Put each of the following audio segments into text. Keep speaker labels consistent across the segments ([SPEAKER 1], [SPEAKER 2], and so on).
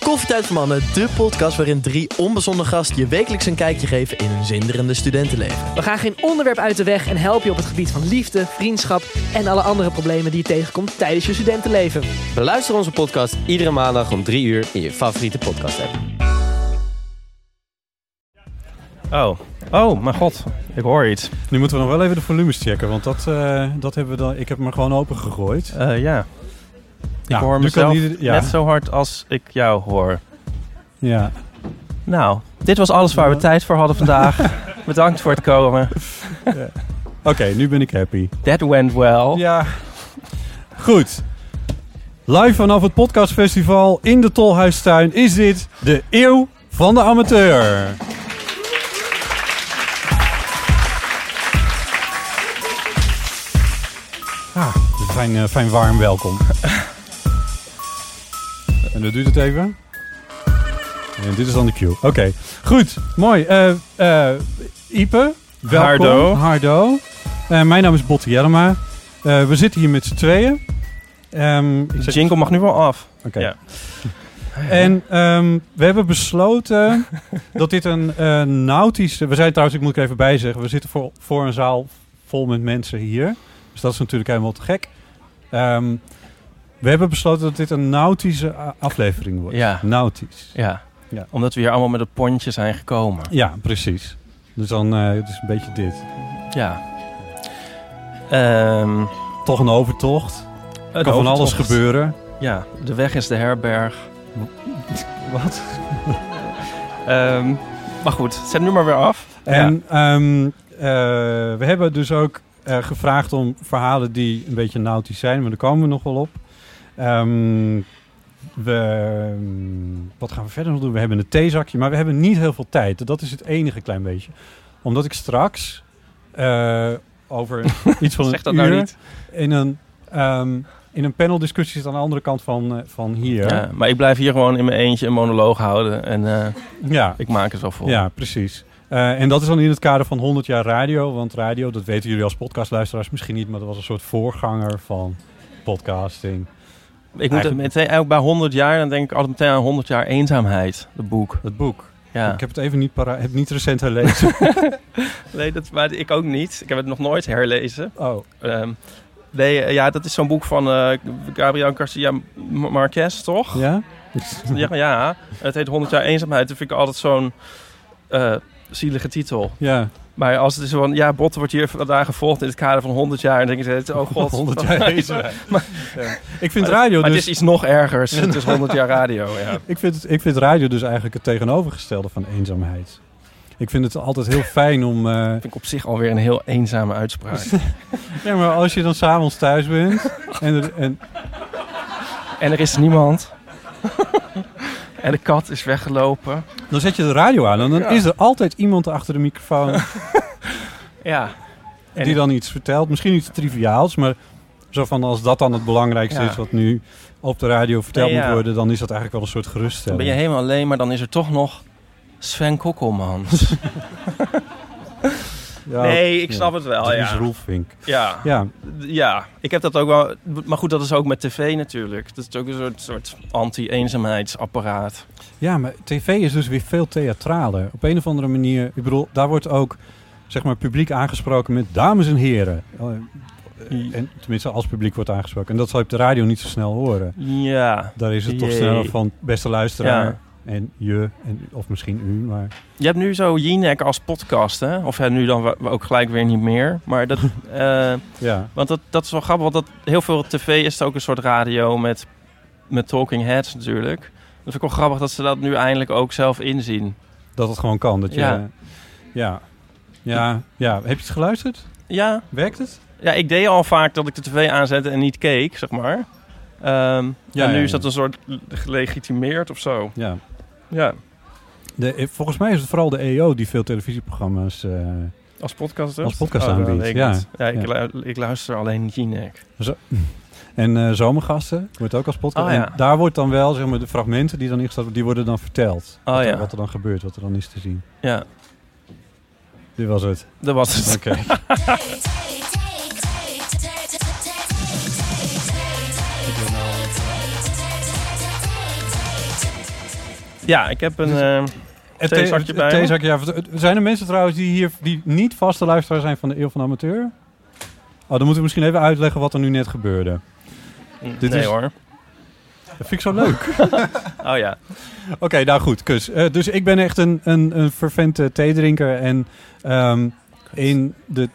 [SPEAKER 1] Koffietijd voor Mannen, de podcast waarin drie onbezonnen gasten je wekelijks een kijkje geven in hun zinderende studentenleven.
[SPEAKER 2] We gaan geen onderwerp uit de weg en helpen je op het gebied van liefde, vriendschap en alle andere problemen die je tegenkomt tijdens je studentenleven.
[SPEAKER 3] Beluister onze podcast iedere maandag om 3 uur in je favoriete podcast app.
[SPEAKER 4] Oh. Oh, mijn god. Ik hoor iets.
[SPEAKER 5] Nu moeten we nog wel even de volumes checken, want dat, eh, dat hebben we dan, ik heb hem er gewoon open gegooid.
[SPEAKER 4] Eh, ja. Ik
[SPEAKER 5] Ja,
[SPEAKER 4] hoor
[SPEAKER 5] Ah, nu kan
[SPEAKER 4] mezelf
[SPEAKER 5] ieder- ja.
[SPEAKER 4] net zo hard als ik jou hoor.
[SPEAKER 5] Ja.
[SPEAKER 4] Nou, dit was alles waar we tijd voor hadden vandaag. Bedankt voor het komen.
[SPEAKER 5] Oké, nu ben ik happy.
[SPEAKER 4] That went well.
[SPEAKER 5] Ja. Goed. Live vanaf het podcastfestival in de Tolhuistuin is dit de Eeuw van de Amateur. Ah, fijn, eh, fijn warm welkom. En dat duurt het even. En dit is dan de cue. Oké, goed. Mooi. Eh, eh, Ipe, welkom.
[SPEAKER 4] Hardo.
[SPEAKER 5] Hardo. Eh, mijn naam is Botte Jellema. Eh, we zitten hier met z'n tweeën. Ehm, ik
[SPEAKER 4] De
[SPEAKER 5] zeg-
[SPEAKER 4] jingle mag nu wel af.
[SPEAKER 5] Oké.
[SPEAKER 4] Ja.
[SPEAKER 5] En ehm, we hebben besloten dat dit een eh, nautische... We zijn trouwens, ik moet er even bij zeggen, we zitten voor, voor een zaal vol met mensen hier. Dus dat is natuurlijk helemaal te gek. Ehm, we hebben besloten dat dit een nautische a- aflevering wordt.
[SPEAKER 4] Ja.
[SPEAKER 5] Nautisch.
[SPEAKER 4] Ja.
[SPEAKER 5] Ja.
[SPEAKER 4] Omdat we hier allemaal met het pontje zijn gekomen.
[SPEAKER 5] Ja, precies. Dus dan eh het is een beetje dit.
[SPEAKER 4] Ja. Ehm,
[SPEAKER 5] Toch een overtocht.
[SPEAKER 4] het
[SPEAKER 5] kan van alles
[SPEAKER 4] overtocht.
[SPEAKER 5] gebeuren.
[SPEAKER 4] Ja, de weg is de herberg. Wat? Ehm, maar goed, zet nu maar weer af.
[SPEAKER 5] En ehm, eh, we hebben dus ook eh, gevraagd om verhalen die een beetje nautisch zijn, maar daar komen we nog wel op. Ehm, we, ehm, wat gaan we verder nog doen? We hebben een theezakje, maar we hebben niet heel veel tijd. Dat is het enige klein beetje. Omdat ik straks eh, over iets van
[SPEAKER 4] zeg dat
[SPEAKER 5] een
[SPEAKER 4] nou
[SPEAKER 5] uur
[SPEAKER 4] niet.
[SPEAKER 5] in een, ehm, in een paneldiscussie zit aan de andere kant van, eh, van hier.
[SPEAKER 4] Ja, maar ik blijf hier gewoon in mijn eentje een monoloog houden. En eh,
[SPEAKER 5] ja.
[SPEAKER 4] ik maak het wel vol.
[SPEAKER 5] Ja, precies. Eh, en dat is dan in het kader van 100 jaar radio. Want radio, dat weten jullie als podcastluisteraars misschien niet, maar dat was een soort voorganger van podcasting.
[SPEAKER 4] Ik moet het
[SPEAKER 5] Eigenlijk-
[SPEAKER 4] meteen, eigenlijk bij 100 jaar, dan denk ik altijd meteen aan 100 jaar eenzaamheid, het boek.
[SPEAKER 5] Het boek.
[SPEAKER 4] Ja.
[SPEAKER 5] Ik heb het even niet, para- heb niet recent herlezen.
[SPEAKER 4] Nee, dat, maar ik ook niet. Ik heb het nog nooit herlezen.
[SPEAKER 5] oh,
[SPEAKER 4] Ehm, nee, eh, ja, dat is zo'n boek van eh, Gabriel Garcia M- Marquez, toch?
[SPEAKER 5] ja?
[SPEAKER 4] Ja, ja. het heet 100 jaar eenzaamheid. Dat vind ik altijd zo'n eh, zielige titel.
[SPEAKER 5] ja,
[SPEAKER 4] Maar als het is van, ja, Botten wordt hier vandaag gevolgd in het kader van 100 jaar. Dan denk ik, oh god.
[SPEAKER 5] 100 jaar lezen.
[SPEAKER 4] Maar-
[SPEAKER 5] Ik vind radio
[SPEAKER 4] Maar
[SPEAKER 5] dus...
[SPEAKER 4] het is iets nog ergers. Het is 100 jaar radio, ja.
[SPEAKER 5] Ik vind, ik vind radio dus eigenlijk het tegenovergestelde van eenzaamheid. Ik vind het altijd heel fijn om... eh,
[SPEAKER 4] vind ik op zich alweer een heel eenzame uitspraak.
[SPEAKER 5] ja, maar als je dan s'avonds thuis bent en, er- en,
[SPEAKER 4] en er is niemand. en de kat is weggelopen.
[SPEAKER 5] dan zet je de radio aan en dan is er altijd iemand achter de microfoon
[SPEAKER 4] Ja. En-
[SPEAKER 5] die dan iets vertelt. Misschien iets triviaals, maar zo van als dat dan het belangrijkste
[SPEAKER 4] Ja.
[SPEAKER 5] is wat nu op de radio verteld
[SPEAKER 4] Nee, ja.
[SPEAKER 5] moet worden, dan is dat eigenlijk wel een
[SPEAKER 4] Dan
[SPEAKER 5] soort geruststelling.
[SPEAKER 4] ben je helemaal alleen, maar dan is er toch nog Sven Kokkelmans.
[SPEAKER 5] Ja,
[SPEAKER 4] nee, ik
[SPEAKER 5] ja.
[SPEAKER 4] snap het wel,
[SPEAKER 5] dat is
[SPEAKER 4] ja.
[SPEAKER 5] Roelvink.
[SPEAKER 4] ja.
[SPEAKER 5] Ja,
[SPEAKER 4] Ja, ik heb dat ook wel. Maar goed, dat is ook met tv natuurlijk. Dat is ook een soort, soort anti-eenzaamheidsapparaat.
[SPEAKER 5] ja, maar tv is dus weer veel theatraler. Op een of andere manier, ik bedoel, daar wordt ook zeg maar publiek aangesproken met dames en heren. Eh, En, tenminste, als publiek wordt aangesproken. En dat zal je op de radio niet zo snel horen.
[SPEAKER 4] Ja.
[SPEAKER 5] Daar is het toch
[SPEAKER 4] Jee.
[SPEAKER 5] sneller van beste luisteraar
[SPEAKER 4] Ja.
[SPEAKER 5] en je, en, of misschien u, maar...
[SPEAKER 4] Je hebt nu zo Jinek als podcast, hè? Of ja, nu dan wa- ook gelijk weer niet meer. Maar dat. eh,
[SPEAKER 5] Ja,
[SPEAKER 4] Want dat, dat is wel grappig, want dat, heel veel tv is ook een soort radio met, met talking heads natuurlijk. Dat vind ik wel grappig dat ze dat nu eindelijk ook zelf inzien.
[SPEAKER 5] dat het gewoon kan. Dat je,
[SPEAKER 4] Ja.
[SPEAKER 5] ja. ja. Ja, Heb je het geluisterd?
[SPEAKER 4] Ja,
[SPEAKER 5] Werkt het?
[SPEAKER 4] ja, ik deed al vaak dat ik de tv aanzette en niet keek, zeg maar. Ehm,
[SPEAKER 5] Ja,
[SPEAKER 4] en nu
[SPEAKER 5] ja,
[SPEAKER 4] is
[SPEAKER 5] ja.
[SPEAKER 4] dat een soort le- gelegitimeerd of zo.
[SPEAKER 5] Ja.
[SPEAKER 4] Ja,
[SPEAKER 5] De, eh, volgens mij is het vooral de EO die veel televisieprogramma's... eh,
[SPEAKER 4] als podcast dus?
[SPEAKER 5] Als podcast
[SPEAKER 4] dat
[SPEAKER 5] aanbiedt,
[SPEAKER 4] weet ik
[SPEAKER 5] ja.
[SPEAKER 4] niet. ja, ik,
[SPEAKER 5] Ja.
[SPEAKER 4] lu- ik luister alleen Jinek.
[SPEAKER 5] zo- en eh zomergasten wordt ook als podcast.
[SPEAKER 4] Oh, ja.
[SPEAKER 5] En daar wordt dan wel, zeg maar, de fragmenten die dan ingesteld worden, die worden dan verteld.
[SPEAKER 4] Oh
[SPEAKER 5] wat, er,
[SPEAKER 4] ja.
[SPEAKER 5] wat er dan gebeurt, wat er dan is te zien.
[SPEAKER 4] Ja,
[SPEAKER 5] Dit was het.
[SPEAKER 4] dat was het.
[SPEAKER 5] Oké.
[SPEAKER 4] Ja, ik heb een... ehm,
[SPEAKER 5] Het
[SPEAKER 4] Theezakje bij me?
[SPEAKER 5] theezakje, ja. Het- het- Zijn er mensen trouwens die hier die niet vaste luisteraar zijn van de Eeuw van de Amateur? Oh, dan moeten we misschien even uitleggen wat er nu net gebeurde. Dit
[SPEAKER 4] ehm, nee
[SPEAKER 5] is-
[SPEAKER 4] hoor.
[SPEAKER 5] Dat vind ik zo leuk.
[SPEAKER 4] Oh ja.
[SPEAKER 5] Oké, nou goed, kus. Eh, dus ik ben echt een, een, een fervent eh, theedrinker en ehm, in de...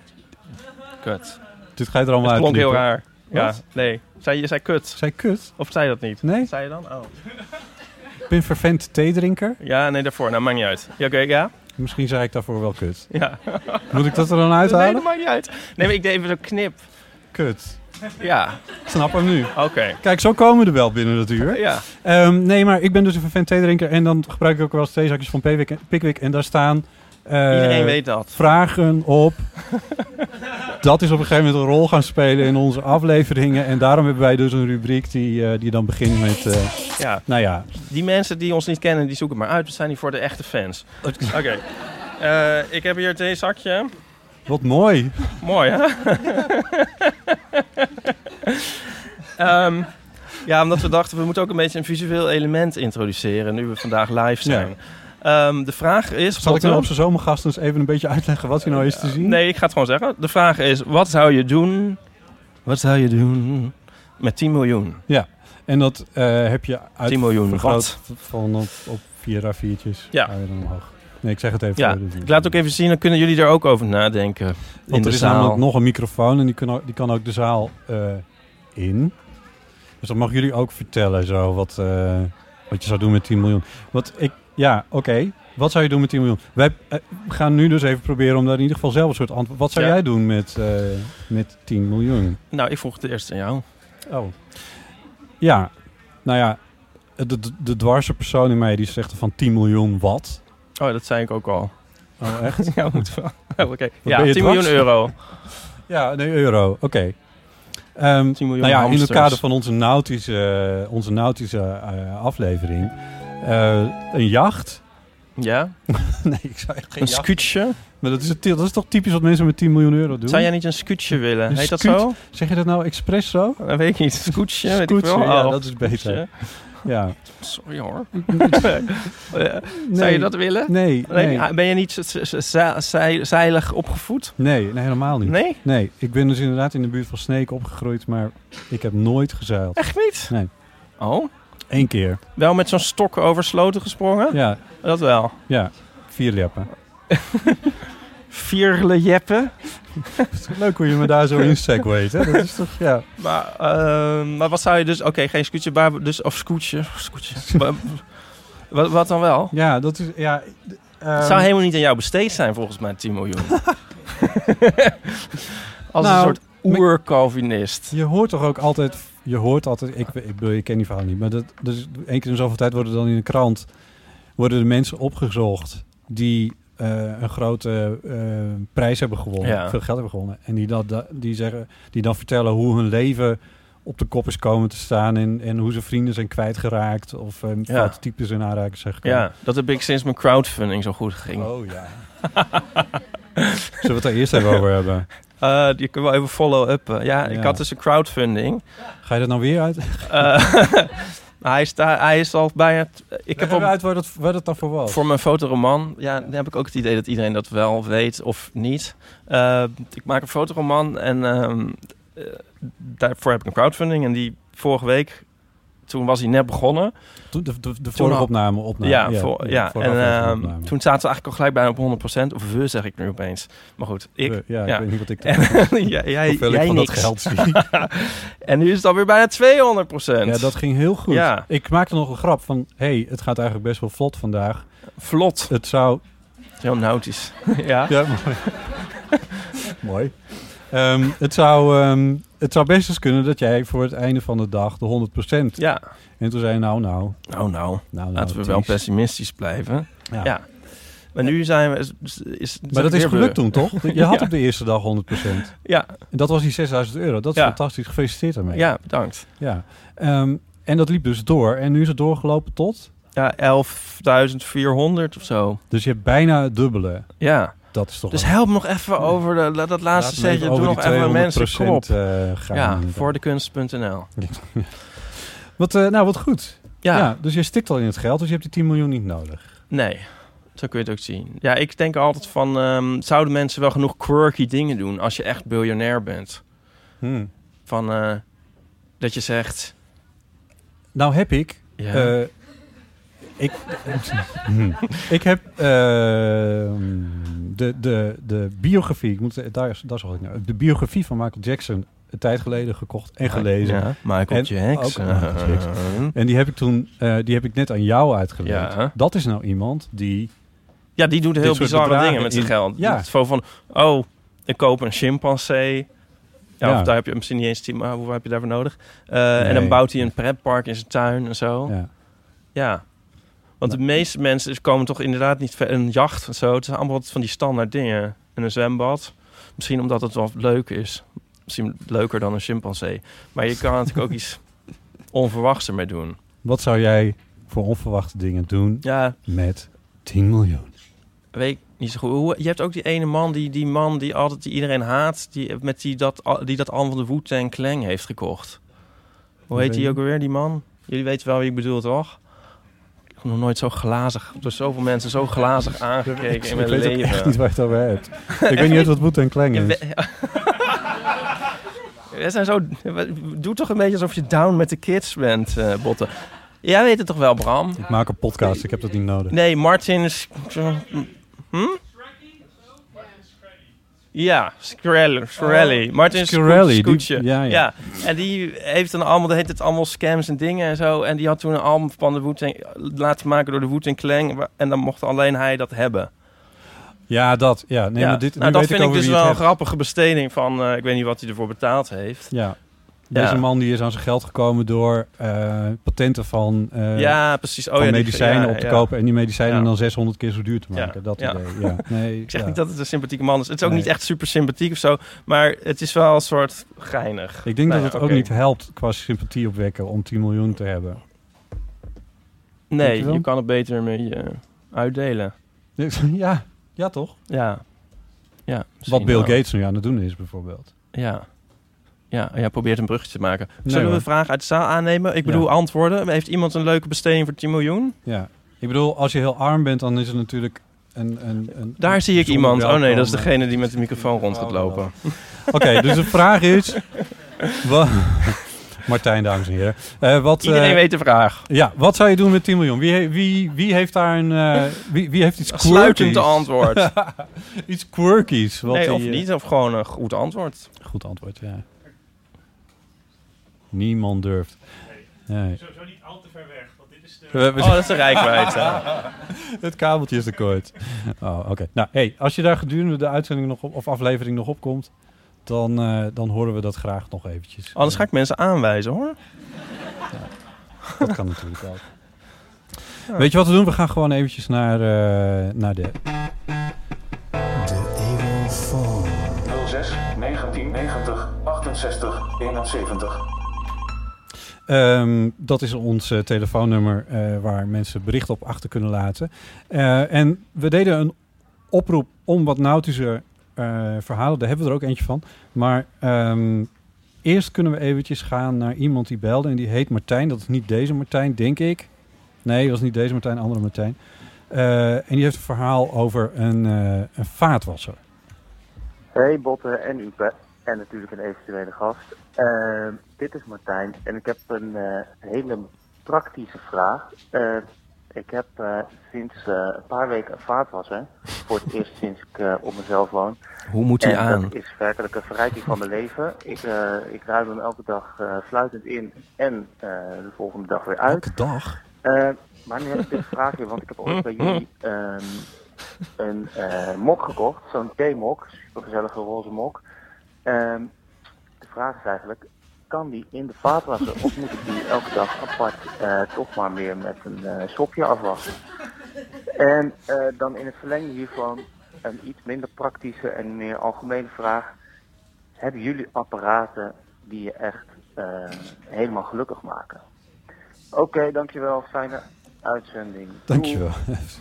[SPEAKER 4] Kut.
[SPEAKER 5] Dit ga je er
[SPEAKER 4] Het
[SPEAKER 5] allemaal uit.
[SPEAKER 4] klonk heel raar. Ja,
[SPEAKER 5] Wat?
[SPEAKER 4] nee. Zei, je zei kut.
[SPEAKER 5] Zij kut?
[SPEAKER 4] Of zei je dat niet?
[SPEAKER 5] Nee,
[SPEAKER 4] Zei je dan? Oh.
[SPEAKER 5] ik ben fervent theedrinker.
[SPEAKER 4] Ja, nee, daarvoor. Nou, maakt niet uit. Ja, oké, ja?
[SPEAKER 5] Misschien zei ik daarvoor wel kut.
[SPEAKER 4] Ja.
[SPEAKER 5] Moet ik dat er
[SPEAKER 4] Nee,
[SPEAKER 5] dan
[SPEAKER 4] dat
[SPEAKER 5] uithalen?
[SPEAKER 4] maakt niet uit. Nee, maar ik deed even zo'n knip.
[SPEAKER 5] Kut.
[SPEAKER 4] Ja,
[SPEAKER 5] Ik snap hem nu.
[SPEAKER 4] oké.
[SPEAKER 5] Kijk, zo komen we er wel binnen dat uur.
[SPEAKER 4] Ja.
[SPEAKER 5] Ehm, nee, maar ik ben dus een vervent theedrinker en dan gebruik ik ook wel eens theezakjes van Pickwick en, Pickwick en daar staan eh,
[SPEAKER 4] Iedereen weet dat.
[SPEAKER 5] vragen op. dat is op een gegeven moment een rol gaan spelen in onze afleveringen en daarom hebben wij dus een rubriek die, eh, die dan begint met, eh,
[SPEAKER 4] Ja.
[SPEAKER 5] nou ja,
[SPEAKER 4] Die mensen die ons niet kennen, die zoeken maar uit. We zijn hier voor de echte fans. Oké. Eh, ik heb hier het zakje.
[SPEAKER 5] wat mooi.
[SPEAKER 4] Mooi, hè? Ehm, ja, omdat we dachten, we moeten ook een beetje een visueel element introduceren... nu we vandaag live zijn. Ehm, de vraag is...
[SPEAKER 5] Zal ik
[SPEAKER 4] Botte-
[SPEAKER 5] nou op zijn zomergast eens even een beetje uitleggen wat hier nou is te zien?
[SPEAKER 4] Nee, ik ga het gewoon zeggen. De vraag is, wat zou je doen... Wat zou je doen met 10 miljoen?
[SPEAKER 5] En dat eh, heb je
[SPEAKER 4] 10 miljoen,
[SPEAKER 5] uitvergroot
[SPEAKER 4] wat?
[SPEAKER 5] van op, op vier A4'tjes.
[SPEAKER 4] Ja.
[SPEAKER 5] Ga je dan omhoog. Nee, ik zeg het even.
[SPEAKER 4] Ja,
[SPEAKER 5] voor de-
[SPEAKER 4] ik laat ook even zien, dan kunnen jullie er ook over nadenken. in
[SPEAKER 5] Want
[SPEAKER 4] de
[SPEAKER 5] er is
[SPEAKER 4] zaal.
[SPEAKER 5] namelijk nog een microfoon en die kan ook, die kan ook de zaal eh, in. Dus dat mogen jullie ook vertellen, zo, wat, eh, wat je zou doen met 10 miljoen. Wat ik, ja, oké. Wat zou je doen met 10 miljoen? Wij eh, gaan nu dus even proberen om daar in ieder geval zelf een soort antwoord... Wat zou
[SPEAKER 4] Ja.
[SPEAKER 5] jij doen met, eh, met 10 miljoen?
[SPEAKER 4] Nou, ik vroeg het eerst aan jou.
[SPEAKER 5] Oh. Ja, nou ja, de, de, de dwarse persoon in mij die zegt van 10 miljoen wat?
[SPEAKER 4] Oh, dat zei ik ook al.
[SPEAKER 5] Oh, echt?
[SPEAKER 4] ja, moet wel. Oké.
[SPEAKER 5] ben
[SPEAKER 4] Ja,
[SPEAKER 5] je
[SPEAKER 4] 10
[SPEAKER 5] dwars?
[SPEAKER 4] miljoen euro.
[SPEAKER 5] Ja, nee, euro. Oké. Ehm,
[SPEAKER 4] 10 miljoen
[SPEAKER 5] nou ja, in
[SPEAKER 4] hamsters.
[SPEAKER 5] het kader van onze nautische, onze nautische eh, aflevering. eh, een jacht?
[SPEAKER 4] Ja,
[SPEAKER 5] nee, ik zou echt geen
[SPEAKER 4] een
[SPEAKER 5] jacht.
[SPEAKER 4] scootje.
[SPEAKER 5] Maar dat is, het, dat is toch typisch wat mensen met 10 miljoen euro doen?
[SPEAKER 4] Zou jij niet een scootje willen?
[SPEAKER 5] Een
[SPEAKER 4] Heet dat
[SPEAKER 5] scoot?
[SPEAKER 4] zo?
[SPEAKER 5] Zeg je dat nou expres zo?
[SPEAKER 4] Dat weet ik niet. Scootje, weet ik
[SPEAKER 5] Scootje,
[SPEAKER 4] wel.
[SPEAKER 5] ja,
[SPEAKER 4] Oh,
[SPEAKER 5] dat is beter.
[SPEAKER 4] scootje.
[SPEAKER 5] Ja.
[SPEAKER 4] Sorry hoor. Eh, Zou je dat willen?
[SPEAKER 5] Nee,
[SPEAKER 4] Nee.
[SPEAKER 5] nee,
[SPEAKER 4] Ah, Ben je niet z- z- z- za- zij- zeilig opgevoed?
[SPEAKER 5] nee, nee, helemaal niet.
[SPEAKER 4] Nee?
[SPEAKER 5] Nee, ik ben dus inderdaad in de buurt van Sneek opgegroeid, maar ik heb nooit gezeild.
[SPEAKER 4] Echt niet?
[SPEAKER 5] Nee.
[SPEAKER 4] Oh?
[SPEAKER 5] Eén keer.
[SPEAKER 4] Wel met zo'n stok over sloten gesprongen?
[SPEAKER 5] Ja,
[SPEAKER 4] Dat wel.
[SPEAKER 5] ja. Vier lippen.
[SPEAKER 4] Vierle jeppen.
[SPEAKER 5] Leuk hoe je me daar zo in segwayt, hè? Dat is toch, ja.
[SPEAKER 4] Maar, ehm, maar wat zou je dus... Oké, geen scootje, maar dus, of scootje. scootje. Maar- wat, wat dan wel?
[SPEAKER 5] Ja, dat is, ja. ehm,
[SPEAKER 4] Het zou helemaal niet aan jou besteed zijn, volgens mij, 10 miljoen. Als
[SPEAKER 5] Nou,
[SPEAKER 4] een soort oer-Calvinist.
[SPEAKER 5] Je hoort toch ook altijd, je hoort altijd, ik, ik bedoel, je ken die verhaal niet, maar dat, dus één keer in zoveel tijd worden dan in de krant, worden de mensen opgezocht die eh, een grote eh, prijs hebben gewonnen,
[SPEAKER 4] Ja.
[SPEAKER 5] veel geld hebben gewonnen. En die, dat, dat- die, zeggen, die dan vertellen hoe hun leven op de kop is komen te staan en, en hoe ze vrienden zijn kwijtgeraakt of eh
[SPEAKER 4] Ja.
[SPEAKER 5] foute types in aanraking zijn gekomen.
[SPEAKER 4] Ja, dat heb ik sinds mijn crowdfunding zo goed ging.
[SPEAKER 5] Oh ja. Zullen we het daar eerst even over hebben?
[SPEAKER 4] Eh, je kunt wel even follow-uppen. Ja,
[SPEAKER 5] Ja.
[SPEAKER 4] ik had dus een crowdfunding.
[SPEAKER 5] Ga je dat nou weer uit?
[SPEAKER 4] Eh, maar hij, is daar, hij is al bijna... t- Ik heb
[SPEAKER 5] Leg even
[SPEAKER 4] op,
[SPEAKER 5] uit waar dat, waar dat dan voor was.
[SPEAKER 4] voor mijn fotoroman... Ja, dan heb ik ook het idee dat iedereen dat wel weet of niet. Eh, ik maak een fotoroman en ehm, eh, daarvoor heb ik een crowdfunding. En die vorige week, toen was hij net begonnen...
[SPEAKER 5] Toen de, de, de
[SPEAKER 4] Toen
[SPEAKER 5] vorige
[SPEAKER 4] al-
[SPEAKER 5] opname. opname.
[SPEAKER 4] Ja, voor- ja.
[SPEAKER 5] vorige
[SPEAKER 4] en
[SPEAKER 5] aflevering
[SPEAKER 4] ehm,
[SPEAKER 5] opname.
[SPEAKER 4] toen zaten ze eigenlijk al gelijk bijna op 100%. Of we, zeg ik nu opeens. Maar goed, ik.
[SPEAKER 5] We- ja,
[SPEAKER 4] ja.
[SPEAKER 5] ik weet niet wat ik
[SPEAKER 4] En, ja, jij
[SPEAKER 5] hoeveel ik
[SPEAKER 4] jij
[SPEAKER 5] van
[SPEAKER 4] niks.
[SPEAKER 5] dat geld zie.
[SPEAKER 4] en nu is het alweer bijna 200%.
[SPEAKER 5] ja, dat ging heel goed.
[SPEAKER 4] Ja.
[SPEAKER 5] Ik maakte nog een grap van, hey, het gaat eigenlijk best wel vlot vandaag.
[SPEAKER 4] Vlot.
[SPEAKER 5] Het zou...
[SPEAKER 4] Heel nautisch. ja.
[SPEAKER 5] Ja, mooi. mooi. Ehm, het, zou, ehm, het zou best eens kunnen dat jij voor het einde van de dag de 100%.
[SPEAKER 4] Ja,
[SPEAKER 5] En toen zei je, nou, nou,
[SPEAKER 4] nou nou,
[SPEAKER 5] nou,
[SPEAKER 4] laten we
[SPEAKER 5] nou,
[SPEAKER 4] wel
[SPEAKER 5] Ties.
[SPEAKER 4] pessimistisch blijven.
[SPEAKER 5] Ja.
[SPEAKER 4] Ja. Maar nu zijn we... Is, is- is,
[SPEAKER 5] Maar dat is
[SPEAKER 4] weer
[SPEAKER 5] gelukt toen, toch? Je had
[SPEAKER 4] Ja.
[SPEAKER 5] op de eerste dag 100%.
[SPEAKER 4] Ja,
[SPEAKER 5] En dat was die 6000 euro. Dat is
[SPEAKER 4] Ja.
[SPEAKER 5] fantastisch. Gefeliciteerd daarmee.
[SPEAKER 4] ja, bedankt.
[SPEAKER 5] Ja. Ehm, en dat liep dus door. En nu is het doorgelopen tot...
[SPEAKER 4] Ja, 11.400 of zo.
[SPEAKER 5] Dus je hebt bijna het dubbele.
[SPEAKER 4] Ja,
[SPEAKER 5] Dat is toch...
[SPEAKER 4] dus
[SPEAKER 5] wel-
[SPEAKER 4] help nog even over de, la- dat
[SPEAKER 5] Laat
[SPEAKER 4] laatste
[SPEAKER 5] me even
[SPEAKER 4] setje. Doe
[SPEAKER 5] over
[SPEAKER 4] nog
[SPEAKER 5] die
[SPEAKER 4] even mensen
[SPEAKER 5] 200%
[SPEAKER 4] kom op.
[SPEAKER 5] eh, gaan.
[SPEAKER 4] Ja, voor de kunst.nl.
[SPEAKER 5] Wat, eh, nou, wat goed. Ja.
[SPEAKER 4] Ja,
[SPEAKER 5] dus je stikt al in het geld, dus je hebt die 10 miljoen niet nodig.
[SPEAKER 4] nee. Zo kun je het ook zien. Ja, ik denk altijd van... ehm, zouden mensen wel genoeg quirky dingen doen als je echt biljonair bent?
[SPEAKER 5] Hmm.
[SPEAKER 4] Van eh, dat je zegt...
[SPEAKER 5] Nou heb ik...
[SPEAKER 4] Ja,
[SPEAKER 5] eh, ik, Hmm. ik heb eh, de, de, de biografie, ik moet, daar, daar zal ik naar, de biografie van Michael Jackson een tijd geleden gekocht en gelezen.
[SPEAKER 4] Ja, Michael
[SPEAKER 5] En
[SPEAKER 4] Jackson.
[SPEAKER 5] ook Michael En die heb ik toen, eh, die heb ik net aan jou uitgelegd.
[SPEAKER 4] Ja.
[SPEAKER 5] Dat is nou iemand die,
[SPEAKER 4] Ja, die doet heel
[SPEAKER 5] soort
[SPEAKER 4] bizarre
[SPEAKER 5] bedragen
[SPEAKER 4] dingen met zijn
[SPEAKER 5] in-
[SPEAKER 4] geld.
[SPEAKER 5] Ja.
[SPEAKER 4] Het is van, oh, ik koop een chimpansee. Ja,
[SPEAKER 5] Ja.
[SPEAKER 4] Of daar heb je misschien niet eens... Maar hoe heb je daarvoor nodig? Eh,
[SPEAKER 5] Nee.
[SPEAKER 4] En dan bouwt hij een pretpark in zijn tuin en zo. Ja.
[SPEAKER 5] ja,
[SPEAKER 4] Want de meeste mensen is- komen toch inderdaad niet... ver- Een jacht en zo. Het zijn allemaal wat van die standaard dingen. En een zwembad. Misschien omdat het wel leuk is. Misschien leuker dan een chimpansee. Maar je kan er natuurlijk ook iets onverwachts ermee doen.
[SPEAKER 5] wat zou jij voor onverwachte dingen doen
[SPEAKER 4] Ja,
[SPEAKER 5] met 10 miljoen?
[SPEAKER 4] weet ik niet zo goed. Hoe- Je hebt ook die ene man, die, die man die altijd die iedereen haat, die met die dat, al- die dat allemaal van de Wu-Tang Clan heeft gekocht. Hoe heet
[SPEAKER 5] Weet
[SPEAKER 4] die
[SPEAKER 5] ik.
[SPEAKER 4] ook alweer, die man? Jullie weten wel wie ik bedoel, toch? Ik heb nog nooit zo glazig, door zoveel mensen zo glazig
[SPEAKER 5] ik
[SPEAKER 4] aangekeken in
[SPEAKER 5] ik
[SPEAKER 4] mijn
[SPEAKER 5] weet ook
[SPEAKER 4] leven.
[SPEAKER 5] echt niet waar je het over hebt. ik weet niet uit wat moet en kleng
[SPEAKER 4] Je
[SPEAKER 5] is.
[SPEAKER 4] we- We zijn zo... Doe toch een beetje alsof je down met de kids bent, eh Botten. Jij weet het toch wel, Bram?
[SPEAKER 5] Ik maak een podcast, ik heb dat niet nodig.
[SPEAKER 4] Nee, Martin is... Hm? Ja, Skrelly. Skrelly. Martin
[SPEAKER 5] Shkreli, Oh.
[SPEAKER 4] Skrelly.
[SPEAKER 5] die-
[SPEAKER 4] Scootje.
[SPEAKER 5] ja,
[SPEAKER 4] Ja,
[SPEAKER 5] ja.
[SPEAKER 4] en die heeft dan allemaal, dat heet het allemaal scams en dingen en zo. En die had toen een album van de Wu-Tang laten maken door de Wu-Tang Clan. wa- En dan mocht alleen hij dat hebben.
[SPEAKER 5] Ja, dat. Ja, nee,
[SPEAKER 4] ja.
[SPEAKER 5] maar dit,
[SPEAKER 4] nou,
[SPEAKER 5] nu
[SPEAKER 4] dat
[SPEAKER 5] weet
[SPEAKER 4] vind
[SPEAKER 5] ik,
[SPEAKER 4] ik
[SPEAKER 5] over
[SPEAKER 4] dus
[SPEAKER 5] wie
[SPEAKER 4] wel een
[SPEAKER 5] het hebt.
[SPEAKER 4] grappige besteding van, eh, ik weet niet wat hij ervoor betaald heeft.
[SPEAKER 5] Ja.
[SPEAKER 4] Ja.
[SPEAKER 5] Deze man die is aan zijn geld gekomen door eh, patenten van, eh,
[SPEAKER 4] ja, precies. Oh,
[SPEAKER 5] van
[SPEAKER 4] ja, die-
[SPEAKER 5] medicijnen
[SPEAKER 4] ja,
[SPEAKER 5] op te
[SPEAKER 4] ja.
[SPEAKER 5] kopen. En die medicijnen
[SPEAKER 4] Ja.
[SPEAKER 5] dan 600 keer zo duur te maken.
[SPEAKER 4] Ja,
[SPEAKER 5] Dat
[SPEAKER 4] ja.
[SPEAKER 5] idee. Ja. Nee,
[SPEAKER 4] Ik zeg
[SPEAKER 5] ja.
[SPEAKER 4] niet dat het een sympathieke man is. Het is ook
[SPEAKER 5] Nee.
[SPEAKER 4] niet echt super sympathiek of zo. Maar het is wel een soort geinig.
[SPEAKER 5] ik denk
[SPEAKER 4] Nou
[SPEAKER 5] dat het
[SPEAKER 4] ja,
[SPEAKER 5] ook
[SPEAKER 4] oké.
[SPEAKER 5] niet helpt qua sympathie opwekken om 10 miljoen te hebben.
[SPEAKER 4] Nee,
[SPEAKER 5] Dankjewel.
[SPEAKER 4] je, kan het beter mee eh, uitdelen.
[SPEAKER 5] Ja, ja toch?
[SPEAKER 4] Ja. ja
[SPEAKER 5] Wat
[SPEAKER 4] misschien
[SPEAKER 5] Bill
[SPEAKER 4] wel.
[SPEAKER 5] Gates nu aan het doen is bijvoorbeeld.
[SPEAKER 4] Ja. Ja, ja, probeert een bruggetje te maken.
[SPEAKER 5] Nee,
[SPEAKER 4] Zullen we
[SPEAKER 5] hoor.
[SPEAKER 4] een vraag uit de zaal aannemen? Ik
[SPEAKER 5] Ja.
[SPEAKER 4] bedoel, antwoorden. Heeft iemand een leuke besteding voor 10 miljoen?
[SPEAKER 5] Ja. Ik bedoel, als je heel arm bent, dan is het natuurlijk een... een, een
[SPEAKER 4] Daar zie ik
[SPEAKER 5] bijzonder
[SPEAKER 4] iemand. Oh nee, dat is
[SPEAKER 5] welkom,
[SPEAKER 4] degene die met de microfoon rond gaat
[SPEAKER 5] Oh, nou.
[SPEAKER 4] lopen.
[SPEAKER 5] Oké, dus de vraag is... wa- Martijn, dames en heren. Eh, wat, eh,
[SPEAKER 4] Iedereen weet de vraag.
[SPEAKER 5] Ja, wat zou je doen met 10 miljoen? Wie, he- wie, wie heeft daar een... eh, wie, wie heeft iets quirkies?
[SPEAKER 4] Sluitend antwoord.
[SPEAKER 5] iets quirkies. Wat
[SPEAKER 4] nee,
[SPEAKER 5] die,
[SPEAKER 4] of
[SPEAKER 5] eh,
[SPEAKER 4] niet. Of gewoon een goed antwoord.
[SPEAKER 5] Goed antwoord, ja. Niemand durft. Nee.
[SPEAKER 6] Sowieso niet al te ver weg, want dit is de...
[SPEAKER 5] We- we-
[SPEAKER 4] Oh, dat is de rijkwijde.
[SPEAKER 5] Het kabeltje is te kort. Oh, oké. Nou, hey, als je daar gedurende de uitzending nog op, of aflevering nog op komt... Dan, eh, dan horen we dat graag nog eventjes.
[SPEAKER 4] Anders ga ik mensen aanwijzen, hoor.
[SPEAKER 5] Dat kan natuurlijk ook. Weet je wat we doen? We gaan gewoon eventjes naar, eh, naar de...
[SPEAKER 6] 06, 1990, 68, 71.
[SPEAKER 5] Ehm, dat is ons eh, telefoonnummer eh, waar mensen berichten op achter kunnen laten. Eh, en we deden een oproep om wat nautische eh, verhalen. Daar hebben we er ook eentje van. Maar ehm, eerst kunnen we eventjes gaan naar iemand die belde. En die heet Martijn. Dat is niet deze Martijn, denk ik. Nee, dat is niet deze Martijn, andere Martijn. Eh, en die heeft een verhaal over een, eh, een vaatwasser.
[SPEAKER 7] Hey Botten en Upe en natuurlijk een eventuele gast. Ehm, dit is Martijn en ik heb een eh, hele praktische vraag. Eh, ik heb eh, sinds eh, een paar weken een vaatwasser. Voor het eerst sinds ik eh, op mezelf woon.
[SPEAKER 4] Hoe moet hij
[SPEAKER 7] en
[SPEAKER 4] aan?
[SPEAKER 7] dat is werkelijk een verrijking van mijn leven. Ik, eh, ik ruim hem elke dag eh, sluitend in en eh, de volgende dag weer uit.
[SPEAKER 5] Elke dag.
[SPEAKER 7] Eh, maar nu heb ik dit vraagje, want ik heb ooit bij jullie ehm, een eh, mok gekocht, zo'n theemok, supergezellige roze mok. Ehm, de vraag is eigenlijk, kan die in de vaatwasser of moet ik die elke dag apart eh, toch maar weer met een eh, sopje afwassen? En eh, dan in het verlengde hiervan een iets minder praktische en meer algemene vraag. Hebben jullie apparaten die je echt eh, helemaal gelukkig maken? Oké, dankjewel. Fijne uitzending.
[SPEAKER 5] Dankjewel.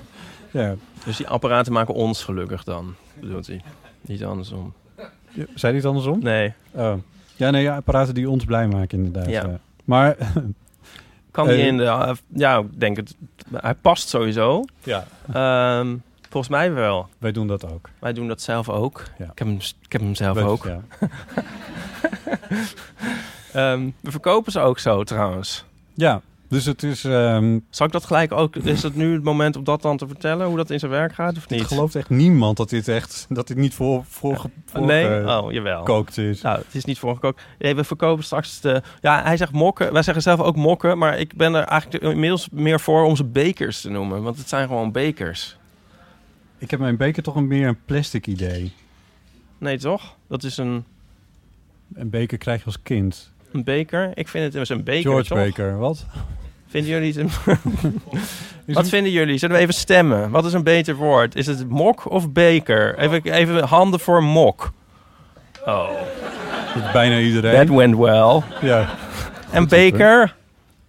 [SPEAKER 5] ja.
[SPEAKER 4] Dus die apparaten maken ons gelukkig dan, bedoelt hij. Niet andersom.
[SPEAKER 5] Ja, Zei hij het andersom?
[SPEAKER 4] Nee.
[SPEAKER 5] Oh. Ja, nee, ja, apparaten die ons blij maken inderdaad.
[SPEAKER 4] Ja.
[SPEAKER 5] ja. Maar...
[SPEAKER 4] Kan die
[SPEAKER 5] eh,
[SPEAKER 4] in de... Ja, ik denk het. Hij past sowieso.
[SPEAKER 5] Ja.
[SPEAKER 4] Ehm, volgens mij wel.
[SPEAKER 5] Wij doen dat ook.
[SPEAKER 4] Wij doen dat zelf ook.
[SPEAKER 5] Ja.
[SPEAKER 4] Ik, heb hem, ik heb hem zelf
[SPEAKER 5] Wij-
[SPEAKER 4] ook.
[SPEAKER 5] ja.
[SPEAKER 4] Ehm, we verkopen ze ook zo trouwens.
[SPEAKER 5] Ja, dus het is... ehm,
[SPEAKER 4] Zal ik dat gelijk ook... Is het nu het moment om dat dan te vertellen? Hoe dat in zijn werk gaat of niet?
[SPEAKER 5] ik geloof echt niemand dat dit echt... Dat dit niet voor... voor, voor
[SPEAKER 4] nee?
[SPEAKER 5] eh,
[SPEAKER 4] oh, jawel.
[SPEAKER 5] gekookt is.
[SPEAKER 4] Nou, het is niet voorgekookt. Nee, we verkopen straks de... Ja, hij zegt mokken. Wij zeggen zelf ook mokken. Maar ik ben er eigenlijk inmiddels meer voor om ze bekers te noemen. Want het zijn gewoon bekers.
[SPEAKER 5] Ik heb mijn beker toch een meer een plastic idee.
[SPEAKER 4] Nee, toch? Dat is een,
[SPEAKER 5] Een beker krijg je als kind.
[SPEAKER 4] een beker. Ik vind het is een beker,
[SPEAKER 5] George
[SPEAKER 4] toch?
[SPEAKER 5] Beker, wat?
[SPEAKER 4] Vinden jullie het een... Wat vinden jullie? Zullen we even stemmen? Wat is een beter woord? Is het mok of beker? Even, even handen voor mok. Oh,
[SPEAKER 5] Bijna iedereen.
[SPEAKER 4] that went well.
[SPEAKER 5] Ja.
[SPEAKER 4] En beker?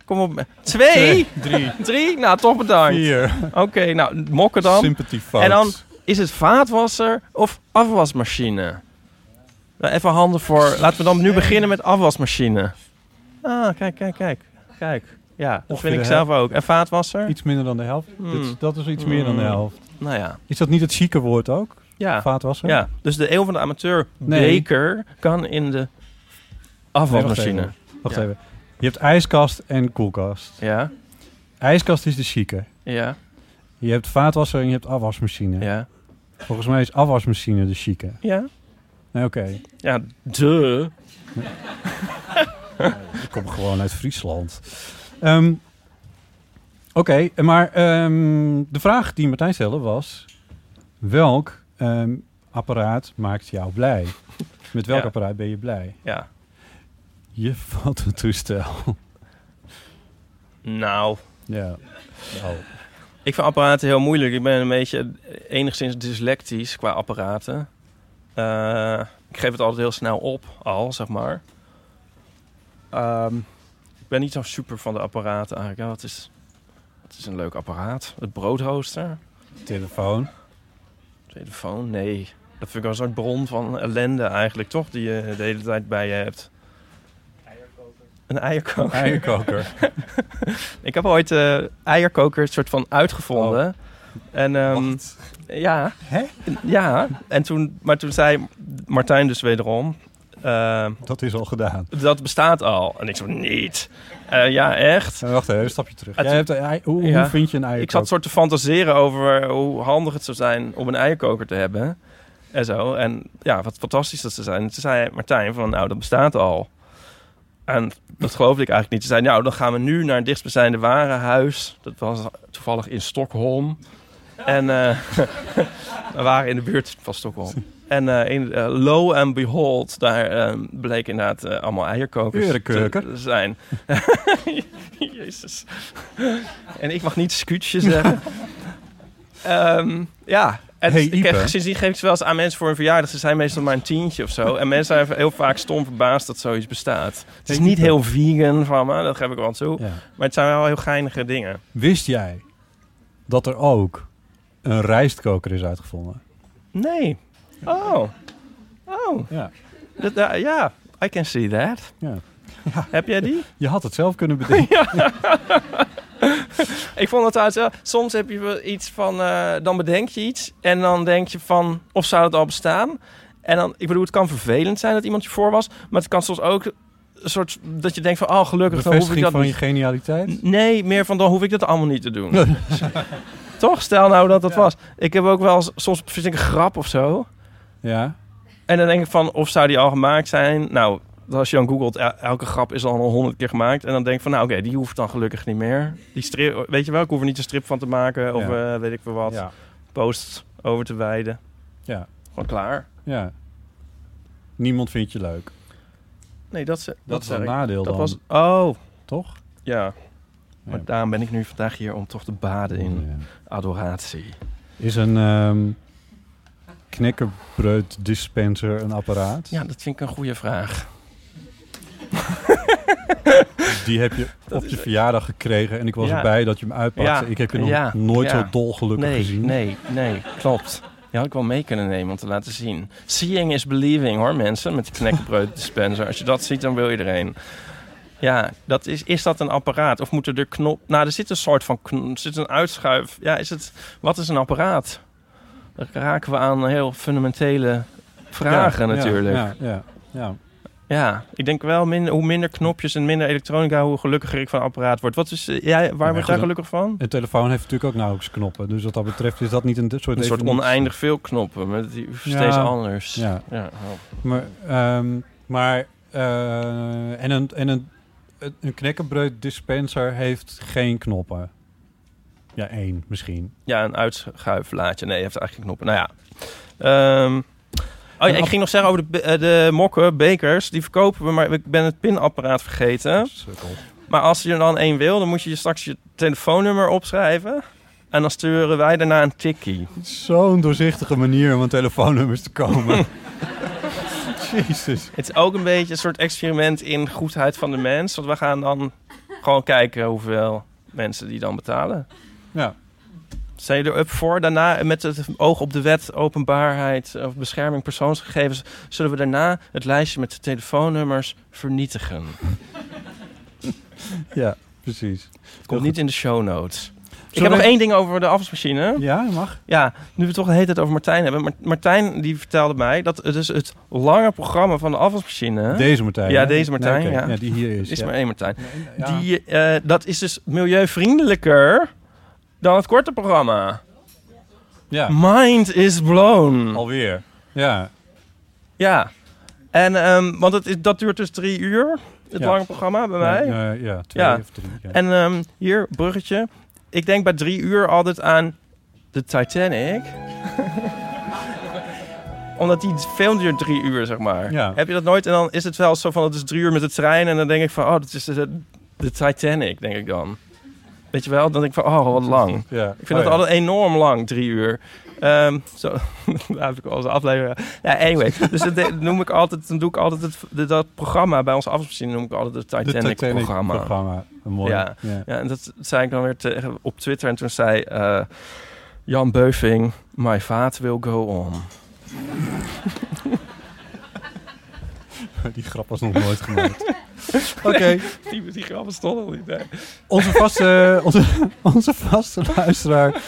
[SPEAKER 4] Kom op. Twee?
[SPEAKER 5] Drie,
[SPEAKER 4] Drie? Nou, toch bedankt.
[SPEAKER 5] vier.
[SPEAKER 4] Oké, nou, mokken dan.
[SPEAKER 5] Sympathy fout.
[SPEAKER 4] En dan is het vaatwasser of afwasmachine? Nou, Even handen voor. Laten we dan nu beginnen met afwasmachine. Ah, kijk, kijk, kijk. Kijk. Ja, dat
[SPEAKER 5] Of
[SPEAKER 4] vind
[SPEAKER 5] de
[SPEAKER 4] ik zelf ook. En vaatwasser?
[SPEAKER 5] Iets minder dan de helft.
[SPEAKER 4] Hmm.
[SPEAKER 5] Dat, dat is iets meer dan de
[SPEAKER 4] Hmm.
[SPEAKER 5] helft.
[SPEAKER 4] Nou ja.
[SPEAKER 5] Is dat niet het chique woord ook?
[SPEAKER 4] Ja.
[SPEAKER 5] Vaatwasser?
[SPEAKER 4] ja. Dus de eeuw van de amateur
[SPEAKER 5] Nee.
[SPEAKER 4] beker kan in de
[SPEAKER 5] Nee, wacht
[SPEAKER 4] afwasmachine.
[SPEAKER 5] even. Wacht
[SPEAKER 4] Ja.
[SPEAKER 5] even. Je hebt ijskast en koelkast.
[SPEAKER 4] ja,
[SPEAKER 5] Ijskast is de chique.
[SPEAKER 4] ja,
[SPEAKER 5] Je hebt vaatwasser en je hebt afwasmachine.
[SPEAKER 4] ja.
[SPEAKER 5] Volgens mij is afwasmachine de chique.
[SPEAKER 4] Ja.
[SPEAKER 5] Nee, Oké,
[SPEAKER 4] Ja, de.
[SPEAKER 5] ik kom gewoon uit Friesland. Ehm, Oké, maar ehm, de vraag die Martijn stelde was... Welk ehm, apparaat maakt jou blij? Met welk
[SPEAKER 4] Ja.
[SPEAKER 5] apparaat ben je blij?
[SPEAKER 4] Ja.
[SPEAKER 5] Je fototoestel.
[SPEAKER 4] Nou,
[SPEAKER 5] ja. Oh.
[SPEAKER 4] Ik vind apparaten heel moeilijk. Ik ben een beetje enigszins dyslectisch qua apparaten. Eh, ik geef het altijd heel snel op, al zeg maar. Ehm, ik ben niet zo super van de apparaten eigenlijk. Ja, het, is, het is een leuk apparaat. Het broodrooster,
[SPEAKER 5] Telefoon.
[SPEAKER 4] telefoon, nee. Dat vind ik wel een soort bron van ellende eigenlijk, toch? Die je de hele tijd bij je hebt. Een eierkoker.
[SPEAKER 5] Eierkoker.
[SPEAKER 4] Ik heb ooit eh eierkoker soort van uitgevonden. En ehm, ja.
[SPEAKER 5] Hè?
[SPEAKER 4] Ja, en toen, maar toen zei Martijn dus wederom... eh,
[SPEAKER 5] Dat is al gedaan.
[SPEAKER 4] dat bestaat al. En ik zo, niet. Eh, ja, echt.
[SPEAKER 5] Eh, wacht even, een stapje terug.
[SPEAKER 4] Het-
[SPEAKER 5] Jij hebt een ei- hoe,
[SPEAKER 4] Ja.
[SPEAKER 5] hoe vind je een eierkoker?
[SPEAKER 4] Ik zat soort te fantaseren over hoe handig het zou zijn om een eierkoker te hebben. En zo. En ja, wat fantastisch dat ze zijn. En toen zei Martijn van, nou, dat bestaat al. En dat geloofde ik eigenlijk niet. Ze zei, nou, dan gaan we nu naar het dichtstbijzijnde warenhuis. Dat was toevallig in Stockholm. En eh, we waren in de buurt van Stockholm. En eh, in, eh, lo and behold, daar eh, bleek inderdaad eh, allemaal eierkokers
[SPEAKER 5] Erekurker.
[SPEAKER 4] te zijn. Jezus. En ik mag niet scootje zeggen. Ehm, ja. En
[SPEAKER 5] Hey,
[SPEAKER 4] ik
[SPEAKER 5] Ipe.
[SPEAKER 4] heb, sindsdien geef ik ze wel eens aan mensen voor hun verjaardag. Ze zijn meestal maar een tientje of zo. En mensen zijn heel vaak stom verbaasd dat zoiets bestaat. Het is
[SPEAKER 5] Hey,
[SPEAKER 4] niet
[SPEAKER 5] Ipe.
[SPEAKER 4] heel vegan van me, dat geef ik wel toe.
[SPEAKER 5] Ja.
[SPEAKER 4] Maar het zijn wel heel geinige dingen.
[SPEAKER 5] Wist jij dat er ook een rijstkoker is uitgevonden?
[SPEAKER 4] Nee. Oh. Oh.
[SPEAKER 5] Ja.
[SPEAKER 4] Dat, ja, ja. I can see that.
[SPEAKER 5] Ja.
[SPEAKER 4] Heb jij die?
[SPEAKER 5] Je had het zelf kunnen bedenken.
[SPEAKER 4] Ik vond het uit. Soms heb je wel iets van. eh, dan bedenk je iets. En dan denk je van. Of zou het al bestaan? En dan. Ik bedoel, het kan vervelend zijn dat iemand je voor was. Maar het kan soms ook. Een soort. Dat je denkt van. Oh, gelukkig. Dan hoef ik
[SPEAKER 5] Bevestiging
[SPEAKER 4] dat
[SPEAKER 5] van je
[SPEAKER 4] niet.
[SPEAKER 5] genialiteit.
[SPEAKER 4] Nee, meer van. Dan hoef ik dat allemaal niet te doen. Toch? Stel nou dat dat was. Ik heb ook wel eens- soms. Vind ik een grap of zo.
[SPEAKER 5] Ja.
[SPEAKER 4] En dan denk ik van, of zou die al gemaakt zijn? Nou, als je dan googelt, el- elke grap is al honderd keer gemaakt. En dan denk ik van, nou oké, die hoeft dan gelukkig niet meer. Die strip, weet je wel, ik hoef er niet een strip van te maken. Of
[SPEAKER 5] Ja.
[SPEAKER 4] eh, weet ik veel wat.
[SPEAKER 5] Ja.
[SPEAKER 4] Posts over te wijden.
[SPEAKER 5] Ja.
[SPEAKER 4] Gewoon klaar.
[SPEAKER 5] ja. niemand vindt je leuk.
[SPEAKER 4] Nee, dat, dat,
[SPEAKER 5] Dat is
[SPEAKER 4] zei
[SPEAKER 5] een
[SPEAKER 4] ik.
[SPEAKER 5] nadeel
[SPEAKER 4] dat
[SPEAKER 5] dan.
[SPEAKER 4] Was, oh.
[SPEAKER 5] Toch?
[SPEAKER 4] Ja. Maar daarom ben ik nu vandaag hier om toch te baden in adoratie.
[SPEAKER 5] Is een ehm knekkenbreud dispenser een apparaat?
[SPEAKER 4] Ja, dat vind ik een goede vraag.
[SPEAKER 5] Die heb je op je verjaardag gekregen en ik was
[SPEAKER 4] Ja.
[SPEAKER 5] erbij dat je hem uitpakte.
[SPEAKER 4] Ja,
[SPEAKER 5] Ik heb je nog
[SPEAKER 4] ja,
[SPEAKER 5] nooit
[SPEAKER 4] ja.
[SPEAKER 5] zo dolgelukkig
[SPEAKER 4] nee,
[SPEAKER 5] gezien.
[SPEAKER 4] Nee, nee, klopt. Die had ik wel mee kunnen nemen om te laten zien. Seeing is believing hoor mensen, met die knekkenbreud dispenser. Als je dat ziet, dan wil je er een. Ja, dat is, is dat een apparaat? Of moeten er knop... Nou, er zit een soort van knop, er zit een uitschuif. Ja, is het... Wat is een apparaat? Dan raken we aan heel fundamentele vragen
[SPEAKER 5] Ja, ja,
[SPEAKER 4] natuurlijk.
[SPEAKER 5] Ja, ja, ja.
[SPEAKER 4] Ja, ik denk wel minder, hoe minder knopjes en minder elektronica, hoe gelukkiger ik van een apparaat word. Wat is, eh, jij, waar word
[SPEAKER 5] goed,
[SPEAKER 4] jij
[SPEAKER 5] een-
[SPEAKER 4] gelukkig van?
[SPEAKER 5] Een telefoon heeft natuurlijk ook nauwelijks knoppen. Dus wat dat betreft is dat niet een soort
[SPEAKER 4] Een soort
[SPEAKER 5] definitie.
[SPEAKER 4] oneindig veel knoppen, met die,
[SPEAKER 5] Ja.
[SPEAKER 4] steeds anders.
[SPEAKER 5] Ja.
[SPEAKER 4] oh.
[SPEAKER 5] Maar, ehm, maar eh, en een, en een, een knekkenbreud dispenser heeft geen knoppen. Ja, één misschien.
[SPEAKER 4] ja een uitschuiflaadje. Nee, je heeft eigenlijk knoppen. Nou ja. Ehm, oh ja,
[SPEAKER 5] Een
[SPEAKER 4] ik
[SPEAKER 5] app-
[SPEAKER 4] ging nog zeggen over de, be- eh, de mokken, bekers. Die verkopen we, maar ik ben het pinapparaat vergeten.
[SPEAKER 5] eh,
[SPEAKER 4] Maar als je er dan één wil, dan moet je je straks je telefoonnummer opschrijven. En dan sturen wij daarna een tikkie.
[SPEAKER 5] Zo'n doorzichtige manier om aan telefoonnummers te komen. Jezus.
[SPEAKER 4] Het is ook een beetje een soort experiment in goedheid van de mens. Want we gaan dan gewoon kijken hoeveel mensen die dan betalen.
[SPEAKER 5] Ja.
[SPEAKER 4] Zijn je er up voor? Daarna, met het oog op de wet, openbaarheid of bescherming persoonsgegevens, zullen we daarna het lijstje met de telefoonnummers vernietigen.
[SPEAKER 5] Ja, precies.
[SPEAKER 4] Het komt niet in de show notes. Ik heb
[SPEAKER 5] Zullen
[SPEAKER 4] nog
[SPEAKER 5] we-
[SPEAKER 4] één ding over de afwasmachine.
[SPEAKER 5] Ja, mag.
[SPEAKER 4] Ja, nu we het toch de hele tijd over Martijn hebben. Maar- Martijn die vertelde mij dat het, dus het lange programma van de afwasmachine...
[SPEAKER 5] Deze Martijn,
[SPEAKER 4] Ja,
[SPEAKER 5] hè?
[SPEAKER 4] deze Martijn.
[SPEAKER 5] Nee, oké.
[SPEAKER 4] ja.
[SPEAKER 5] Ja, die hier is,
[SPEAKER 4] is
[SPEAKER 5] ja.
[SPEAKER 4] maar één Martijn.
[SPEAKER 5] ja.
[SPEAKER 4] Die, eh, dat is dus milieuvriendelijker dan het korte programma.
[SPEAKER 5] Ja.
[SPEAKER 4] Mind is blown.
[SPEAKER 5] Alweer. Ja.
[SPEAKER 4] Ja. En, ehm, want het is, dat duurt dus drie uur, het
[SPEAKER 5] Ja.
[SPEAKER 4] lange programma bij mij.
[SPEAKER 5] Ja, eh, ja, twee of drie, ja.
[SPEAKER 4] En ehm, hier, bruggetje. Ik denk bij drie uur altijd aan de Titanic. Omdat die film duurt drie uur, zeg maar.
[SPEAKER 5] Ja.
[SPEAKER 4] Heb je dat nooit? En dan is het wel zo van, het is drie uur met de trein. En dan denk ik van, oh, dat is de, de Titanic, denk ik dan. Weet je wel? Dan denk ik van, oh, wat lang.
[SPEAKER 5] Ja.
[SPEAKER 4] Ik vind
[SPEAKER 5] Oh,
[SPEAKER 4] dat
[SPEAKER 5] ja.
[SPEAKER 4] altijd enorm lang, drie uur. Ehm, zo, daar heb ik al onze aflevering. Ja, anyway. Dus dat de- noem ik altijd, dan doe ik altijd het, de- dat programma bij onze afwasmachine noem ik altijd het Titanic,
[SPEAKER 5] Titanic
[SPEAKER 4] programma.
[SPEAKER 5] programma. Een mooi-
[SPEAKER 4] Ja.
[SPEAKER 5] ja.
[SPEAKER 4] Ja. en dat zei ik dan weer tegen, op Twitter. En toen zei eh, Jan Beuving, my vaat will go on.
[SPEAKER 5] Die grap was nog nooit gemaakt. Oké.
[SPEAKER 4] Die, die grappen stonden al niet. nee.
[SPEAKER 5] Onze vaste, onze, onze vaste luisteraar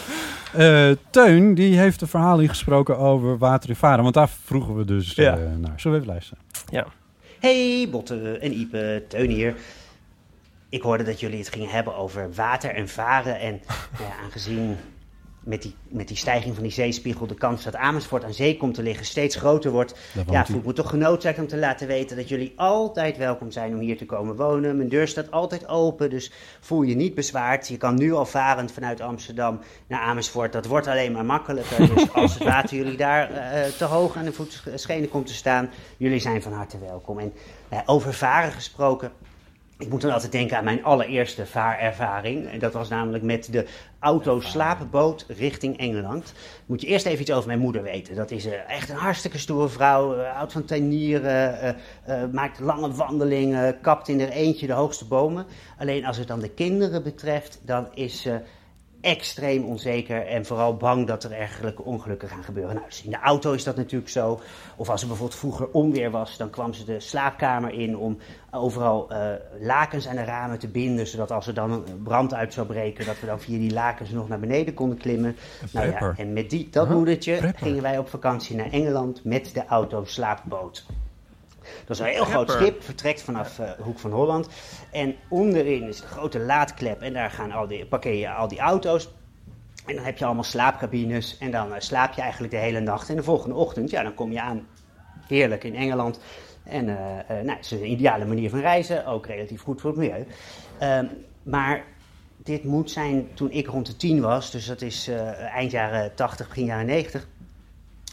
[SPEAKER 5] eh, Teun, die heeft een verhaal ingesproken over water in Varen. Want daar vroegen we dus eh,
[SPEAKER 8] Ja.
[SPEAKER 5] naar. Zullen we even luisteren?
[SPEAKER 4] Ja.
[SPEAKER 8] Hey Botte en Ipe, Teun hier. Ik hoorde dat jullie het gingen hebben over water en varen. En nou ja, aangezien met die, met die stijging van die zeespiegel de kans dat Amersfoort aan zee komt te liggen steeds groter wordt.
[SPEAKER 9] Daar woont
[SPEAKER 8] Ja,
[SPEAKER 9] hij.
[SPEAKER 8] voel ik me toch genoodzaakt om te laten weten dat jullie altijd welkom zijn om hier te komen wonen. Mijn deur staat altijd open, dus voel je niet bezwaard. Je kan nu al varend vanuit Amsterdam naar Amersfoort. Dat wordt alleen maar makkelijker. Dus als het water jullie daar eh, te hoog aan de voetschenen komt te staan, jullie zijn van harte welkom. En eh, over varen gesproken, ik moet dan altijd denken aan mijn allereerste vaarervaring. En dat was namelijk met de autoslaapboot richting Engeland. Moet je eerst even iets over mijn moeder weten. Dat is eh, echt een hartstikke stoere vrouw. eh, oud van tuinieren. eh, eh, maakt lange wandelingen. Kapt in haar eentje de hoogste bomen. Alleen als het dan de kinderen betreft, dan is ze extreem onzeker en vooral bang dat er ergelijke ongelukken gaan gebeuren. Nou, dus in de auto is dat natuurlijk zo. Of als er bijvoorbeeld vroeger onweer was, dan kwam ze de slaapkamer in om overal eh, lakens aan de ramen te binden, zodat als er dan een brand uit zou breken, dat we dan via die lakens nog naar beneden konden klimmen. Nou ja,
[SPEAKER 9] prepper.
[SPEAKER 8] en met die, dat
[SPEAKER 9] Huh?
[SPEAKER 8] moedertje
[SPEAKER 9] Prepper.
[SPEAKER 8] gingen wij op vakantie naar Engeland met de auto slaapboot. Dat is een heel groot
[SPEAKER 9] Prepper.
[SPEAKER 8] schip, vertrekt vanaf eh, Hoek van Holland. En onderin is de grote laadklep en daar gaan al die, parkeer je al die auto's. En dan heb je allemaal slaapcabines en dan eh, slaap je eigenlijk de hele nacht. En de volgende ochtend, ja, dan kom je aan, heerlijk in Engeland. En eh, eh, nou, het is een ideale manier van reizen, ook relatief goed voor het milieu. Ehm, maar dit moet zijn toen ik rond de tien was, dus dat is eh, eind jaren 80, begin jaren 90.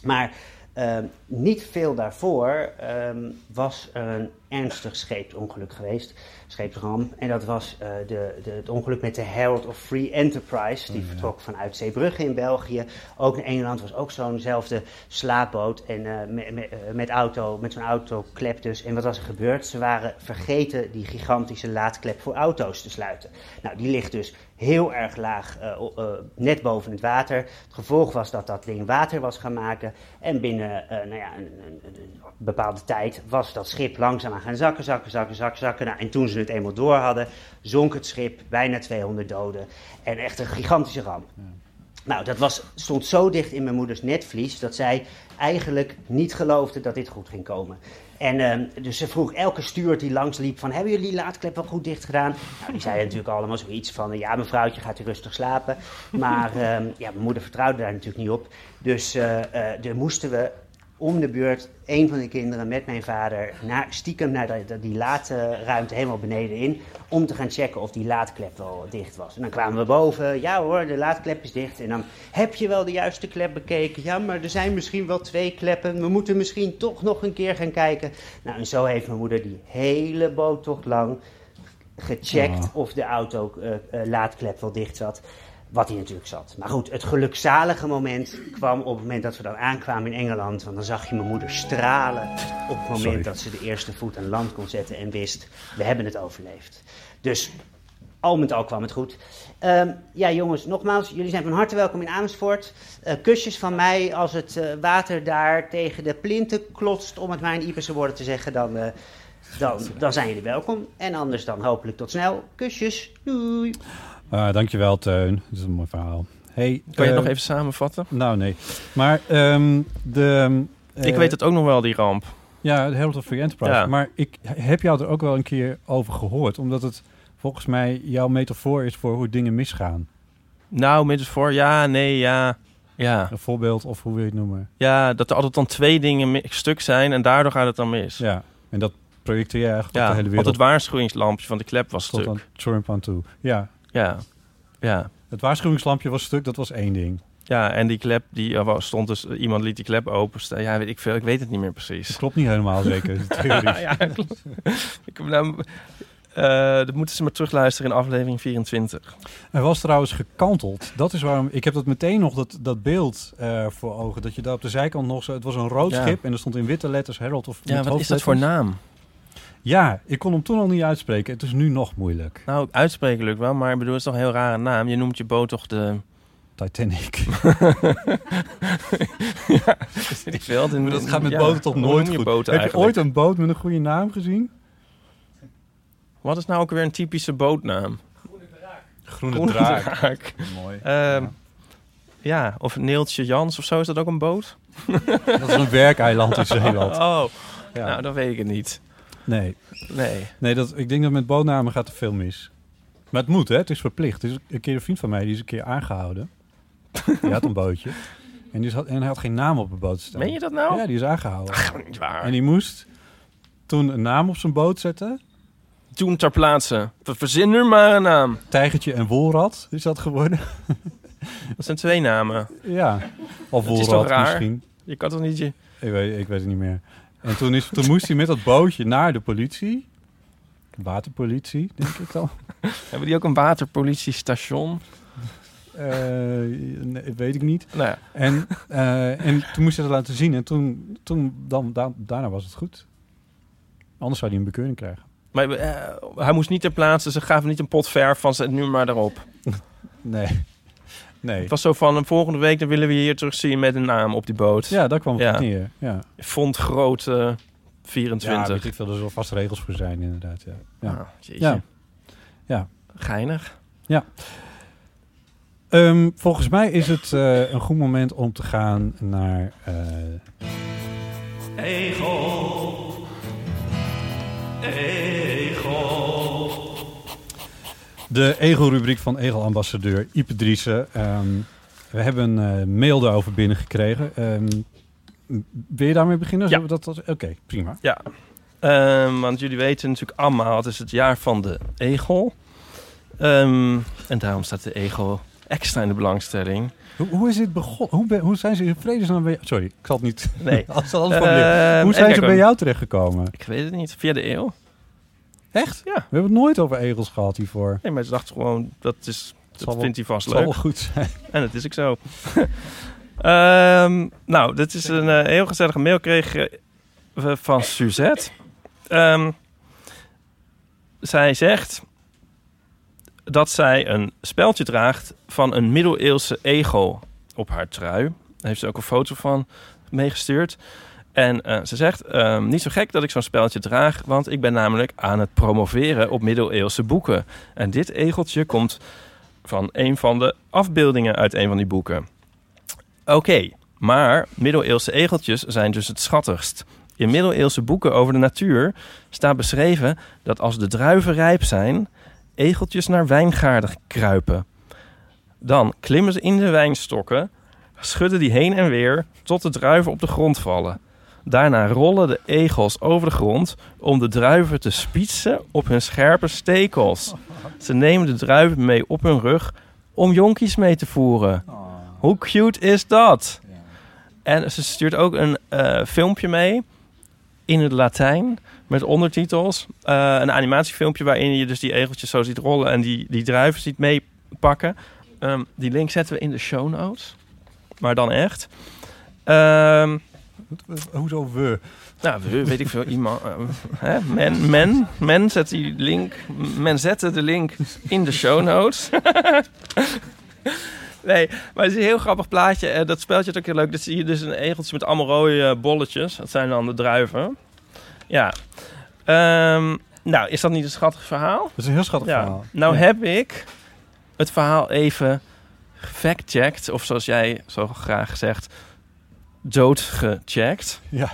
[SPEAKER 8] Maar eh, Ehm, niet veel daarvoor ehm, was er een ernstig scheepsongeluk geweest, scheepsram. En dat was eh, de, de, het ongeluk met de Herald of Free Enterprise. Die vertrok vanuit Zeebrugge in België. Ook in Engeland was ook zo'nzelfde slaapboot en, eh, me- me- eh, met, auto, met zo'n autoklep dus. En wat was er gebeurd? Ze waren vergeten die gigantische laadklep voor auto's te sluiten. Nou, die ligt dus heel erg laag, eh, o- eh, net boven het water. Het gevolg was dat dat ding water was gaan maken. En binnen eh, nou ja, een, een, een- een bepaalde tijd was dat schip langzaam aan gaan zakken, zakken, zakken, zakken, zakken. Nou, en toen ze het eenmaal door hadden, zonk het schip, bijna 200 doden. En echt een gigantische ramp. Nou, dat was, stond zo dicht in mijn moeders netvlies dat zij eigenlijk niet geloofde dat dit goed ging komen. En ehm, dus ze vroeg elke stuurt die langsliep van, hebben jullie die laadklep wel goed dicht gedaan? Nou, die zeiden natuurlijk allemaal zoiets van, ja, mevrouwtje gaat hier rustig slapen. Maar ehm, ja, mijn moeder vertrouwde daar natuurlijk niet op. Dus eh eh, er moesten we om de beurt een van de kinderen met mijn vader naar, stiekem naar dat- dat- die late ruimte helemaal beneden in. Om te gaan checken of die laadklep wel dicht was. En dan kwamen we boven. Ja hoor, de laadklep is dicht. En dan heb je wel de juiste klep bekeken. Ja, maar er zijn misschien wel twee kleppen. We moeten misschien toch nog een keer gaan kijken. Nou, en zo heeft mijn moeder die hele boottocht lang gecheckt of de auto eh, eh, laadklep wel dicht zat. Wat hij natuurlijk zat. Maar goed, het gelukzalige moment kwam op het moment dat we dan aankwamen in Engeland. Want dan zag je mijn moeder stralen op het moment
[SPEAKER 10] Sorry.
[SPEAKER 8] dat ze de eerste voet aan land kon zetten en wist, we hebben het overleefd. Dus al met al kwam het goed. Ehm, ja, jongens, nogmaals, jullie zijn van harte welkom in Amersfoort. Eh, kusjes van mij als het eh, water daar tegen de plinten klotst, om het maar in Iperse woorden te zeggen, dan, eh, dan, dan zijn jullie welkom. En anders dan hopelijk tot snel. Kusjes, doei.
[SPEAKER 5] Ah, dankjewel, Teun. Dat is een mooi verhaal. Hey,
[SPEAKER 4] Kan je
[SPEAKER 5] eh,
[SPEAKER 4] het nog even samenvatten?
[SPEAKER 5] Nou, nee. Maar ehm, de...
[SPEAKER 4] ik weet het ook nog wel, die ramp.
[SPEAKER 5] Ja, de Herald of Free Enterprise.
[SPEAKER 4] Ja.
[SPEAKER 5] Maar ik heb jou er ook wel een keer over gehoord. Omdat het volgens mij jouw metafoor is voor hoe dingen misgaan.
[SPEAKER 4] Nou, middels voor, ja, nee, ja. Ja.
[SPEAKER 5] Een voorbeeld of hoe wil je het noemen.
[SPEAKER 4] ja, dat er altijd dan twee dingen mi- stuk zijn en daardoor gaat het dan mis.
[SPEAKER 5] Ja, en dat projecteer je eigenlijk
[SPEAKER 4] ja,
[SPEAKER 5] op de hele wereld.
[SPEAKER 4] Want het waarschuwingslampje van de klep was
[SPEAKER 5] Tot
[SPEAKER 4] stuk.
[SPEAKER 5] aan Trump aan toe. Ja.
[SPEAKER 4] Ja. ja.
[SPEAKER 5] Het waarschuwingslampje was stuk, dat was één ding.
[SPEAKER 4] Ja, en die klep, die er was- stond dus, iemand liet die klep openstaan. Ja, weet ik veel, ik weet het niet meer precies.
[SPEAKER 5] Klopt niet helemaal zeker, de theorie.
[SPEAKER 4] ja, klopt. Ik, heb nou, eh, dat moeten ze maar terugluisteren in aflevering 24.
[SPEAKER 5] Hij was trouwens gekanteld. Dat is waarom... Ik heb dat meteen nog, dat, dat beeld eh, voor ogen. Dat je daar op de zijkant nog zo... Het was een rood
[SPEAKER 4] Ja.
[SPEAKER 5] schip en er stond in witte letters Herald of...
[SPEAKER 4] Ja,
[SPEAKER 5] met
[SPEAKER 4] wat is dat
[SPEAKER 5] hoofdletters.
[SPEAKER 4] voor naam?
[SPEAKER 5] Ja, ik kon hem toen al niet uitspreken. Het is nu nog moeilijk.
[SPEAKER 4] Nou, uitspreken lukt wel, maar ik bedoel, het is toch een heel rare naam. Je noemt je boot toch de...
[SPEAKER 5] Titanic.
[SPEAKER 4] ja, weet ik veel. De-
[SPEAKER 5] Maar dat gaat met
[SPEAKER 4] ja,
[SPEAKER 5] boten toch
[SPEAKER 4] hoe
[SPEAKER 5] nooit
[SPEAKER 4] noem je
[SPEAKER 5] goed.
[SPEAKER 4] boten
[SPEAKER 5] Heb je
[SPEAKER 4] eigenlijk?
[SPEAKER 5] ooit een boot met een goede naam gezien?
[SPEAKER 4] Wat is nou ook weer een typische bootnaam?
[SPEAKER 5] Groene,
[SPEAKER 4] draak.
[SPEAKER 5] Mooi.
[SPEAKER 4] Ehm, ja. of Neeltje Jans of zo, is dat ook een boot?
[SPEAKER 5] Dat is een werkeiland in Zeeland.
[SPEAKER 4] Oh,
[SPEAKER 5] Ja.
[SPEAKER 4] nou, dan weet ik het niet.
[SPEAKER 5] Nee.
[SPEAKER 4] Nee.
[SPEAKER 5] Nee, dat, ik denk dat met bootnamen gaat er veel mis. Maar het moet, hè? Het is verplicht. Er is een keer een vriend van mij, die is een keer aangehouden. Die had een bootje. En, die had, en hij had geen naam op de boot staan.
[SPEAKER 4] Meen je dat nou?
[SPEAKER 5] Ja, die is aangehouden.
[SPEAKER 4] Niet waar.
[SPEAKER 5] En die moest toen een naam op zijn boot zetten.
[SPEAKER 4] Toen ter plaatse. Ver- Verzin nu maar een naam.
[SPEAKER 5] Tijgertje en wolrad is dat geworden.
[SPEAKER 4] Dat zijn twee namen.
[SPEAKER 5] ja. Of
[SPEAKER 4] Dat is
[SPEAKER 5] wolrad
[SPEAKER 4] toch raar?
[SPEAKER 5] misschien.
[SPEAKER 4] Je kan toch niet je...
[SPEAKER 5] Ik weet, ik weet het niet meer. En toen, is, toen moest hij met dat bootje naar de politie. Waterpolitie, denk ik dan.
[SPEAKER 4] Hebben die ook een waterpolitiestation?
[SPEAKER 5] Eh, nee, weet ik niet.
[SPEAKER 4] Nou ja.
[SPEAKER 5] En, eh, en toen moest hij dat laten zien. En toen, toen dan, da- daarna was het goed. Anders zou hij een bekeuring krijgen.
[SPEAKER 4] Maar eh, hij moest niet ter plaatse. Ze gaven niet een pot verf van zet nu maar erop.
[SPEAKER 5] Nee. Nee.
[SPEAKER 4] Het was zo van, eh, volgende week dan willen we je hier terugzien met een naam op die boot.
[SPEAKER 5] Ja, daar kwam het
[SPEAKER 4] Ja.
[SPEAKER 5] op neer. Ja.
[SPEAKER 4] Font groot eh,
[SPEAKER 5] Ja,
[SPEAKER 4] 24.
[SPEAKER 5] weet ik veel. Er zullen vast regels voor zijn, inderdaad. Ja. Ja.
[SPEAKER 4] Ah, jeetje.
[SPEAKER 5] ja. ja.
[SPEAKER 4] Geinig.
[SPEAKER 5] Ja. Ehm, volgens mij is het eh, een goed moment om te gaan naar... eh,
[SPEAKER 9] Egel. Egel.
[SPEAKER 5] De Egel-rubriek van Egel-ambassadeur Ipe Driessen. Ehm, we hebben een eh, mail daarover binnengekregen. Ehm, m- wil je daarmee beginnen? Zullen we dat als- Oké, prima.
[SPEAKER 4] Ja, Ehm, want jullie weten natuurlijk allemaal, het is het jaar van de egel. Ehm, en daarom staat de egel extra in de belangstelling.
[SPEAKER 5] Hoe, hoe is dit begonnen? Hoe, ben- hoe zijn ze in vredesnaam bij jou? Sorry, ik zal het niet.
[SPEAKER 4] Nee.
[SPEAKER 5] Als alles
[SPEAKER 4] Eh,
[SPEAKER 5] van leren.
[SPEAKER 4] even
[SPEAKER 5] Hoe zijn ze bij
[SPEAKER 4] kijken.
[SPEAKER 5] jou terechtgekomen?
[SPEAKER 4] Ik weet het niet. Via de eeuw.
[SPEAKER 5] Echt?
[SPEAKER 4] Ja.
[SPEAKER 5] We hebben het nooit over egels gehad hiervoor.
[SPEAKER 4] Nee, maar ze dacht gewoon, dat, is,
[SPEAKER 5] zal
[SPEAKER 4] dat
[SPEAKER 5] wel-
[SPEAKER 4] vindt hij vast
[SPEAKER 5] het
[SPEAKER 4] leuk.
[SPEAKER 5] zal wel goed zijn.
[SPEAKER 4] En dat is ik zo. Ehm, nou, dit is een eh, heel gezellige mail kreeg eh, we van Suzette. Ehm, zij zegt dat zij een speldje draagt van een middeleeuwse egel op haar trui. Daar heeft ze ook een foto van meegestuurd. En eh, ze zegt, ehm, niet zo gek dat ik zo'n speldje draag, want ik ben namelijk aan het promoveren op middeleeuwse boeken. En dit egeltje komt van een van de afbeeldingen uit een van die boeken. Oké, maar middeleeuwse egeltjes zijn dus het schattigst. In middeleeuwse boeken over de natuur staat beschreven dat als de druiven rijp zijn, egeltjes naar wijngaarden kruipen. Dan klimmen ze in de wijnstokken, schudden die heen en weer tot de druiven op de grond vallen. Daarna rollen de egels over de grond om de druiven te spietsen op hun scherpe stekels. Ze nemen de druiven mee op hun rug om jonkies mee te voeren. Hoe cute is dat? En ze stuurt ook een eh, filmpje mee in het Latijn met ondertitels. Eh, een animatiefilmpje waarin je dus die egeltjes zo ziet rollen en die, die druiven ziet meepakken. Ehm, die link zetten we in de show notes. Maar dan echt. Ehm,
[SPEAKER 5] Hoezo we?
[SPEAKER 4] nou, we- weet ik veel. Iemand, eh, hè? Men, men, men zet die link. Men zette de link in de show notes. Nee, maar het is een heel grappig plaatje. Eh, dat speeltje is ook heel leuk. Dat zie je dus een egeltje met allemaal rode eh, bolletjes. Dat zijn dan de druiven. Ja. Ehm, nou, is dat niet een schattig verhaal? Dat
[SPEAKER 5] is een heel schattig verhaal.
[SPEAKER 4] Nou
[SPEAKER 5] Ja.
[SPEAKER 4] heb ik het verhaal even fact-checked. Of zoals jij zo graag zegt, doodgecheckt.
[SPEAKER 5] Ja.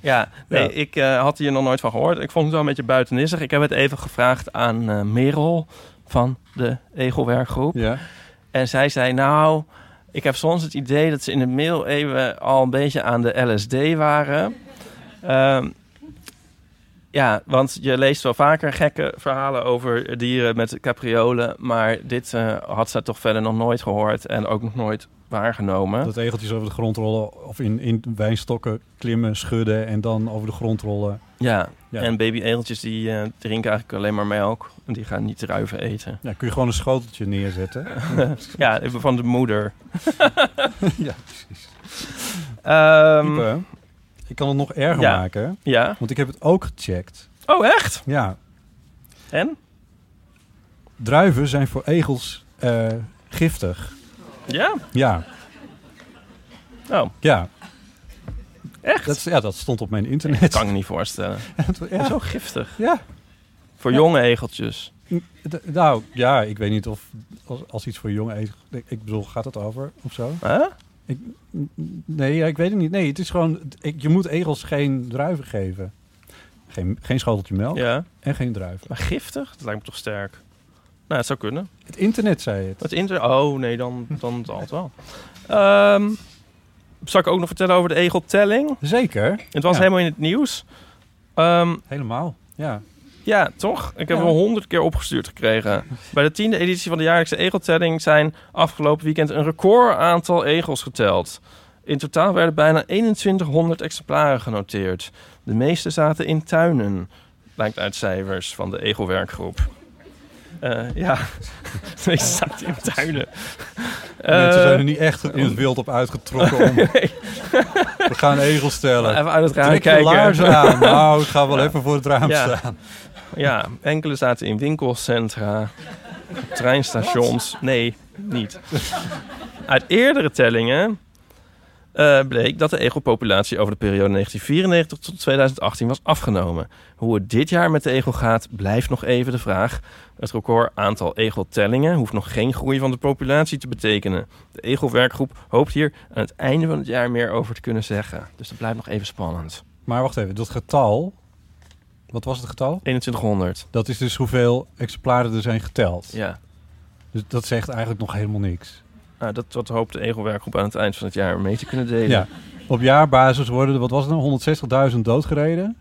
[SPEAKER 4] Ja, nee,
[SPEAKER 5] Ja.
[SPEAKER 4] ik eh, had hier nog nooit van gehoord. Ik vond het wel een beetje buitenissig. Ik heb het even gevraagd aan eh, Merel van de Egelwerkgroep.
[SPEAKER 5] Ja.
[SPEAKER 4] En zij zei, nou, ik heb soms het idee dat ze in de middeleeuwen al een beetje aan de LSD waren. Ehm, ja, want je leest wel vaker gekke verhalen over dieren met capriolen. Maar dit eh, had ze toch verder nog nooit gehoord en ook nog nooit waargenomen.
[SPEAKER 5] Dat egeltjes over de grond rollen of in, in wijnstokken klimmen, schudden en dan over de grond rollen.
[SPEAKER 4] Ja,
[SPEAKER 5] Ja.
[SPEAKER 4] en baby-egeltjes die eh, drinken eigenlijk alleen maar melk. En die gaan niet druiven eten.
[SPEAKER 5] Ja, kun je gewoon een schoteltje neerzetten.
[SPEAKER 4] ja, van de moeder.
[SPEAKER 5] ja, precies. Ipe,
[SPEAKER 4] Ehm,
[SPEAKER 5] ik kan het nog erger
[SPEAKER 4] Ja.
[SPEAKER 5] maken.
[SPEAKER 4] Ja.
[SPEAKER 5] Want ik heb het ook gecheckt.
[SPEAKER 4] oh, echt?
[SPEAKER 5] Ja,
[SPEAKER 4] En?
[SPEAKER 5] druiven zijn voor egels eh, giftig.
[SPEAKER 4] Ja?
[SPEAKER 5] Ja.
[SPEAKER 4] Oh.
[SPEAKER 5] Ja.
[SPEAKER 4] Echt?
[SPEAKER 5] Dat, is- ja, dat stond op mijn internet.
[SPEAKER 4] Dat kan ik me niet voorstellen.
[SPEAKER 5] Ja.
[SPEAKER 4] Zo giftig.
[SPEAKER 5] Ja.
[SPEAKER 4] Voor jonge egeltjes.
[SPEAKER 5] D- Nou, ja, ik weet niet of als, als iets voor jonge egels... Ik bedoel, gaat het over of zo?
[SPEAKER 4] Huh?
[SPEAKER 5] Ik, n- n- nee, ja, ik weet het niet. Nee, het is gewoon... Ik, je moet egels geen druiven geven. Geen, geen schoteltje melk
[SPEAKER 4] Ja.
[SPEAKER 5] en geen druiven.
[SPEAKER 4] Maar giftig? Dat lijkt me toch sterk. Nou, het zou kunnen.
[SPEAKER 5] Het internet zei het.
[SPEAKER 4] Het inter... Oh, nee, dan, dan zal het wel. Ehm, zal ik ook nog vertellen over de egeltelling?
[SPEAKER 5] Zeker.
[SPEAKER 4] Het was
[SPEAKER 5] Ja.
[SPEAKER 4] helemaal in het nieuws. Ehm,
[SPEAKER 5] Helemaal, ja.
[SPEAKER 4] Ja, toch? Ik heb
[SPEAKER 5] Ja.
[SPEAKER 4] hem honderd keer opgestuurd gekregen. Bij de tiende editie van de jaarlijkse egeltelling zijn afgelopen weekend een record aantal egels geteld. In totaal werden bijna 2100 exemplaren genoteerd. De meeste zaten in tuinen, blijkt uit cijfers van de egelwerkgroep. Eh, ja, de meeste zaten in tuinen.
[SPEAKER 5] Mensen
[SPEAKER 4] Eh,
[SPEAKER 5] zijn er niet echt in het wild op uitgetrokken om... We gaan egels stellen.
[SPEAKER 4] Even uit het raam
[SPEAKER 5] Trek je
[SPEAKER 4] kijken.
[SPEAKER 5] laarzen aan. Nou, ik ga wel even voor het raam staan.
[SPEAKER 4] Ja, enkele zaten in winkelcentra, op treinstations. Nee, niet. Uit eerdere tellingen eh, bleek dat de egelpopulatie over de periode 1994 tot 2018 was afgenomen. Hoe het dit jaar met de egel gaat, blijft nog even de vraag. Het record aantal egeltellingen hoeft nog geen groei van de populatie te betekenen. De egelwerkgroep hoopt hier aan het einde van het jaar meer over te kunnen zeggen. Dus dat blijft nog even spannend.
[SPEAKER 5] Maar wacht even, dat getal... Wat was het getal?
[SPEAKER 4] 2100.
[SPEAKER 5] Dat is dus hoeveel exemplaren er zijn geteld.
[SPEAKER 4] Ja.
[SPEAKER 5] Dus dat zegt eigenlijk nog helemaal niks.
[SPEAKER 4] Nou, dat, dat hoopt de Egelwerkgroep aan het eind van het jaar mee te kunnen delen.
[SPEAKER 5] Ja. Op jaarbasis worden er, wat was het nou, 160.000 doodgereden.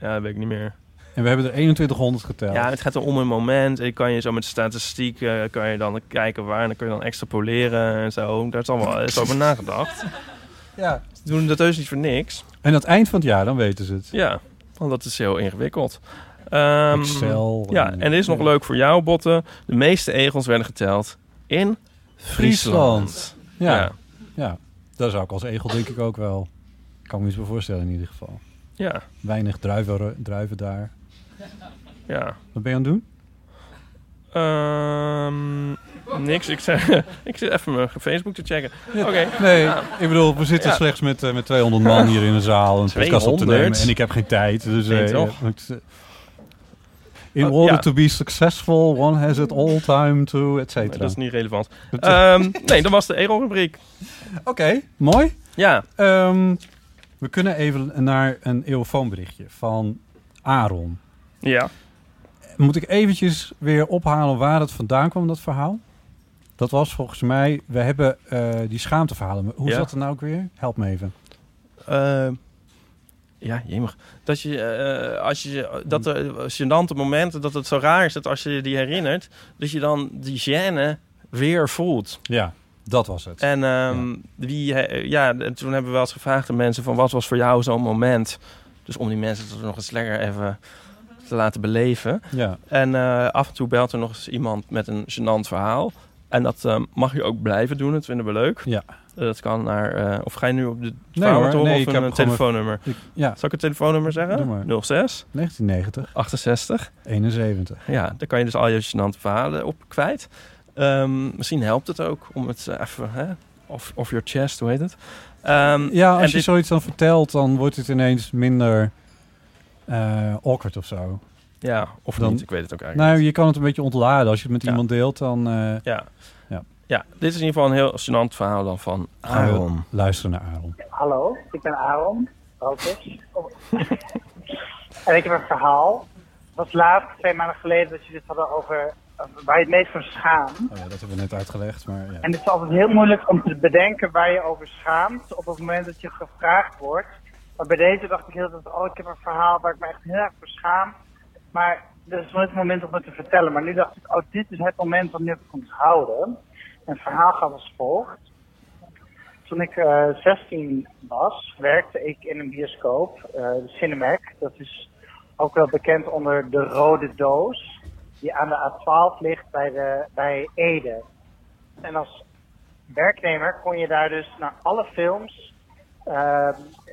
[SPEAKER 4] ja dat weet ik niet meer.
[SPEAKER 5] En we hebben er 2100 geteld.
[SPEAKER 4] Ja, het gaat er om een moment. En kan je zo met statistiek eh, kan je dan kijken waar. En dan kun je dan extrapoleren en zo. Daar is dan wel eens over nagedacht.
[SPEAKER 5] Ja.
[SPEAKER 4] Ze doen dat heus niet voor niks.
[SPEAKER 5] En aan het eind van het jaar, dan weten ze het.
[SPEAKER 4] Ja, want dat is heel ingewikkeld. Ehm,
[SPEAKER 5] Excel
[SPEAKER 4] Ja,
[SPEAKER 5] en-
[SPEAKER 4] en dit is nog leuk voor jou, Botten. De meeste egels werden geteld in Friesland.
[SPEAKER 5] Ja.
[SPEAKER 4] Ja.
[SPEAKER 5] ja. Daar zou ik als egel denk ik ook wel... kan me iets bij voorstellen in ieder geval.
[SPEAKER 4] Ja.
[SPEAKER 5] Weinig druiven, druiven daar.
[SPEAKER 4] Ja.
[SPEAKER 5] Wat ben je aan het doen?
[SPEAKER 4] Ehm, niks. Ik, zei, ik zit even mijn Facebook te checken. Oké.
[SPEAKER 5] Nee,
[SPEAKER 4] Ah.
[SPEAKER 5] ik bedoel, we zitten
[SPEAKER 4] Ja.
[SPEAKER 5] slechts met, eh, met 200 man hier in de zaal. Een podcast op te
[SPEAKER 4] 200?
[SPEAKER 5] nemen. En ik heb geen tijd. Dus,
[SPEAKER 4] Nee,
[SPEAKER 5] eh,
[SPEAKER 4] toch?
[SPEAKER 5] het, eh, in
[SPEAKER 4] Oh,
[SPEAKER 5] order
[SPEAKER 4] ja.
[SPEAKER 5] to be successful, one has it all time to, et
[SPEAKER 4] Maar
[SPEAKER 5] cetera.
[SPEAKER 4] Dat is niet relevant.
[SPEAKER 5] Dat- eh,
[SPEAKER 4] Ehm, nee, dat was de Egel-rubriek.
[SPEAKER 5] Oké, mooi.
[SPEAKER 4] Ja.
[SPEAKER 5] Ehm, we kunnen even naar een eeuwfoonberichtje van Aaron.
[SPEAKER 4] Ja.
[SPEAKER 5] Moet ik eventjes weer ophalen waar het vandaan kwam, dat verhaal? Dat was volgens mij, we hebben eh, die schaamteverhalen. Hoe
[SPEAKER 4] Ja.
[SPEAKER 5] zat het nou ook weer? Help me even.
[SPEAKER 4] Eh, ja, jemig. Dat je, eh, als je, dat er gênante momenten, dat het zo raar is dat als je je die herinnert, dat je dan die gêne weer voelt.
[SPEAKER 5] Ja, dat was het.
[SPEAKER 4] En ehm, Wie, he- ja, en toen hebben we wel eens gevraagd aan mensen van wat was voor jou zo'n moment? Dus om die mensen dat nog eens lekker even te laten beleven.
[SPEAKER 5] Ja.
[SPEAKER 4] En eh, af en toe belt er nog eens iemand met een gênant verhaal. En dat ehm, mag je ook blijven doen, dat vinden we leuk.
[SPEAKER 5] Ja.
[SPEAKER 4] Eh, dat kan naar, eh, of ga je nu op de
[SPEAKER 5] Nee
[SPEAKER 4] verhaal
[SPEAKER 5] hoor,
[SPEAKER 4] horen
[SPEAKER 5] nee,
[SPEAKER 4] of
[SPEAKER 5] ik
[SPEAKER 4] een
[SPEAKER 5] heb
[SPEAKER 4] eh,
[SPEAKER 5] gewoon een-
[SPEAKER 4] telefoonnummer?
[SPEAKER 5] ik- ja.
[SPEAKER 4] Zal ik het telefoonnummer
[SPEAKER 5] Doe
[SPEAKER 4] zeggen?
[SPEAKER 5] maar.
[SPEAKER 4] 06
[SPEAKER 5] 1990.
[SPEAKER 4] 68.
[SPEAKER 5] 71.
[SPEAKER 4] Ja, daar kan je dus al je gênante verhalen op kwijt. Ehm, misschien helpt het ook om het eh, even, hè, off, off your chest, hoe heet het? Ehm,
[SPEAKER 5] Ja,
[SPEAKER 4] en
[SPEAKER 5] als je
[SPEAKER 4] dit-
[SPEAKER 5] zoiets dan vertelt, dan wordt het ineens minder eh, awkward of zo.
[SPEAKER 4] Ja, of
[SPEAKER 5] Dan-
[SPEAKER 4] niet, ik weet het ook eigenlijk
[SPEAKER 5] Nou, je kan het een beetje ontladen. Als je het met iemand deelt, dan eh,
[SPEAKER 4] Ja.
[SPEAKER 5] Ja.
[SPEAKER 4] ja, dit is in ieder geval een heel gênant verhaal dan van
[SPEAKER 5] gaan we
[SPEAKER 4] Aaron.
[SPEAKER 5] luisteren naar Aaron.
[SPEAKER 11] Hallo, ik ben Aaron Rokers. Oh. en ik heb een verhaal. Het was laatst, twee maanden geleden, dat jullie het hadden over eh, waar je het meest van schaamt.
[SPEAKER 5] Oh, ja, dat hebben we net uitgelegd, maar ja.
[SPEAKER 11] En het is altijd heel moeilijk om te bedenken waar je over schaamt op het moment dat je gevraagd wordt. Maar bij deze dacht ik heel dat oh, ik heb een verhaal waar ik me echt heel erg voor schaam. Maar er is nooit het moment om het te vertellen. Maar nu dacht ik, oh, dit is het moment om het te onthouden. En het verhaal gaat als volgt. Toen ik eh, 16 was, werkte ik in een bioscoop, eh, de Cinemac. Dat is ook wel bekend onder de rode doos, die aan de A12 ligt bij, de, bij Ede. En als werknemer kon je daar dus naar alle films eh,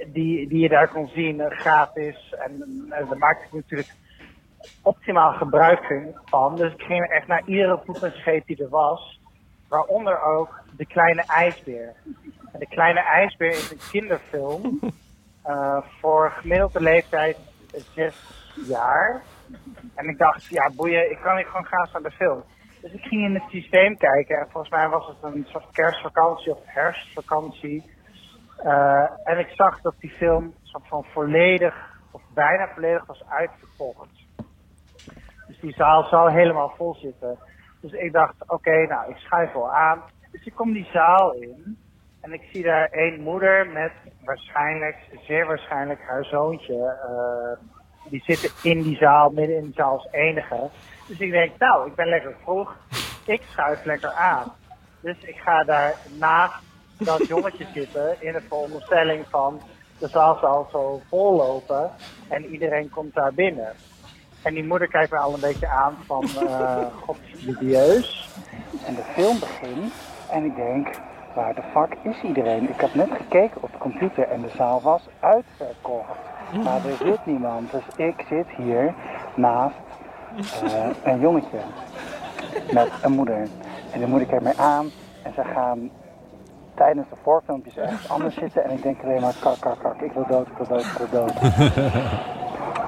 [SPEAKER 11] die, die je daar kon zien eh, gratis. En eh, daar maakte ik natuurlijk optimaal gebruik van. Dus ik ging echt naar iedere poep en scheet die er was. Waaronder ook De Kleine IJsbeer. En de Kleine IJsbeer is een kinderfilm eh, voor gemiddelde leeftijd zes jaar. En ik dacht, ja boeien, ik kan hier gewoon gaan naar de film. Dus ik ging in het systeem kijken en volgens mij was het een soort kerstvakantie of herfstvakantie. Eh, en ik zag dat die film soort van volledig, of bijna volledig was uitverkocht. Dus die zaal zou helemaal vol zitten. Dus ik dacht, oké, nou, ik schuif wel aan. Dus ik kom die zaal in en ik zie daar één moeder met waarschijnlijk, zeer waarschijnlijk haar zoontje. eh, die zitten in die zaal, midden in de zaal als enige. Dus ik denk, nou, ik ben lekker vroeg. Ik schuif lekker aan. Dus ik ga daar naast dat jongetje zitten in de veronderstelling van de zaal zal zo vol lopen en iedereen komt daar binnen. En die moeder kijkt me al een beetje aan van, eh god, dubieus. En de film begint en ik denk, waar de fuck is iedereen? Ik heb net gekeken op de computer en de zaal was uitverkocht. Maar er zit niemand, dus ik zit hier naast eh, een jongetje met een moeder. En de moeder kijkt mij aan en ze gaan tijdens de voorfilmpjes ergens anders zitten. En ik denk alleen maar kak, kak, kak, ik wil dood, ik wil dood, ik wil dood.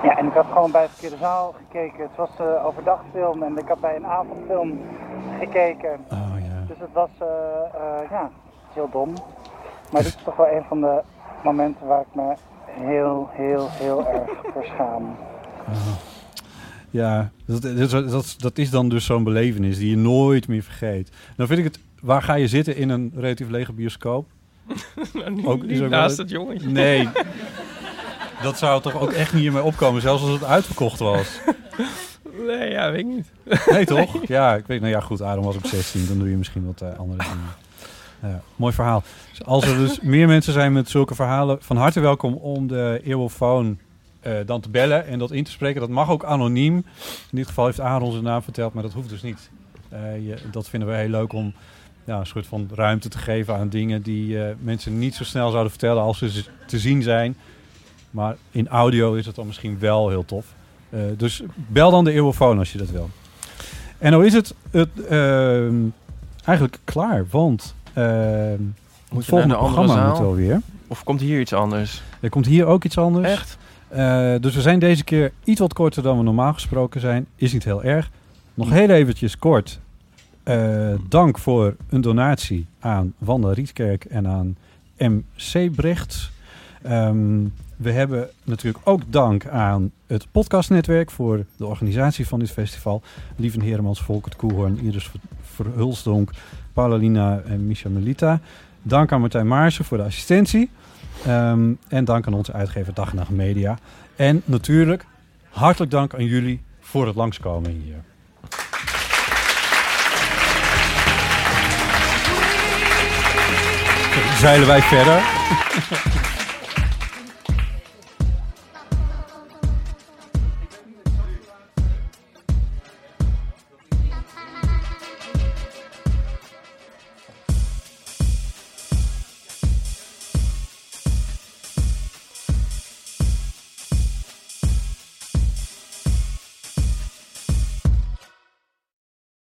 [SPEAKER 11] Ja, en ik had gewoon bij het verkeerde zaal gekeken. Het was eh overdagfilm en ik had bij een avondfilm gekeken.
[SPEAKER 5] Oh
[SPEAKER 11] Dus het was, eh, eh, ja, heel dom. Maar dit is toch wel een van de momenten waar ik me heel, heel, heel erg voor schaam.
[SPEAKER 5] Ja, dat, dat, dat, dat is dan dus zo'n belevenis die je nooit meer vergeet. Dan vind ik het, waar ga je zitten in een relatief lege bioscoop?
[SPEAKER 4] Nou, niet-
[SPEAKER 5] is
[SPEAKER 4] niet
[SPEAKER 5] wel-
[SPEAKER 4] naast dat jongetje.
[SPEAKER 5] Nee. Dat zou toch ook echt niet meer opkomen, zelfs als het uitverkocht was.
[SPEAKER 4] Nee, ja, weet ik niet.
[SPEAKER 5] Nee, toch? Ja, ik weet, nou ja, goed, Adam was ook 16. Dan doe je misschien wat eh, andere dingen. Ja, mooi verhaal. Dus als er dus meer mensen zijn met zulke verhalen, van harte welkom om de eeuwofoon eh, dan te bellen en dat in te spreken. Dat mag ook anoniem. In dit geval heeft Aaron zijn naam verteld, maar dat hoeft dus niet. Eh, je, dat vinden we heel leuk om ja, een soort van ruimte te geven aan dingen die eh, mensen niet zo snel zouden vertellen als ze z- te zien zijn. Maar in audio is het dan misschien wel heel tof. Eh, dus bel dan de eeuwofoon als je dat wil. En nou is het, het ehm, eigenlijk klaar, want ehm, het
[SPEAKER 4] Moet je
[SPEAKER 5] volgende
[SPEAKER 4] naar de andere
[SPEAKER 5] programma
[SPEAKER 4] zaal?
[SPEAKER 5] moet alweer.
[SPEAKER 4] Of komt hier iets anders?
[SPEAKER 5] Er komt hier ook iets anders.
[SPEAKER 4] Echt?
[SPEAKER 5] Eh, dus we zijn deze keer iets wat korter dan we normaal gesproken zijn. Is niet heel erg. Nog heel eventjes kort. eh, dank voor een donatie aan Wanda Rietkerk en aan MC Brecht. Ehm, we hebben natuurlijk ook dank aan het podcastnetwerk voor de organisatie van dit festival. Lieven Heremans, Volkert Koehoorn, Iris Ver- Verhulsdonk, Paulina en Misha Melita. Dank aan Martijn Maarsen voor de assistentie. Ehm, en dank aan onze uitgever Dag en Nacht Media. En natuurlijk hartelijk dank aan jullie voor het langskomen hier. Zeilen wij verder.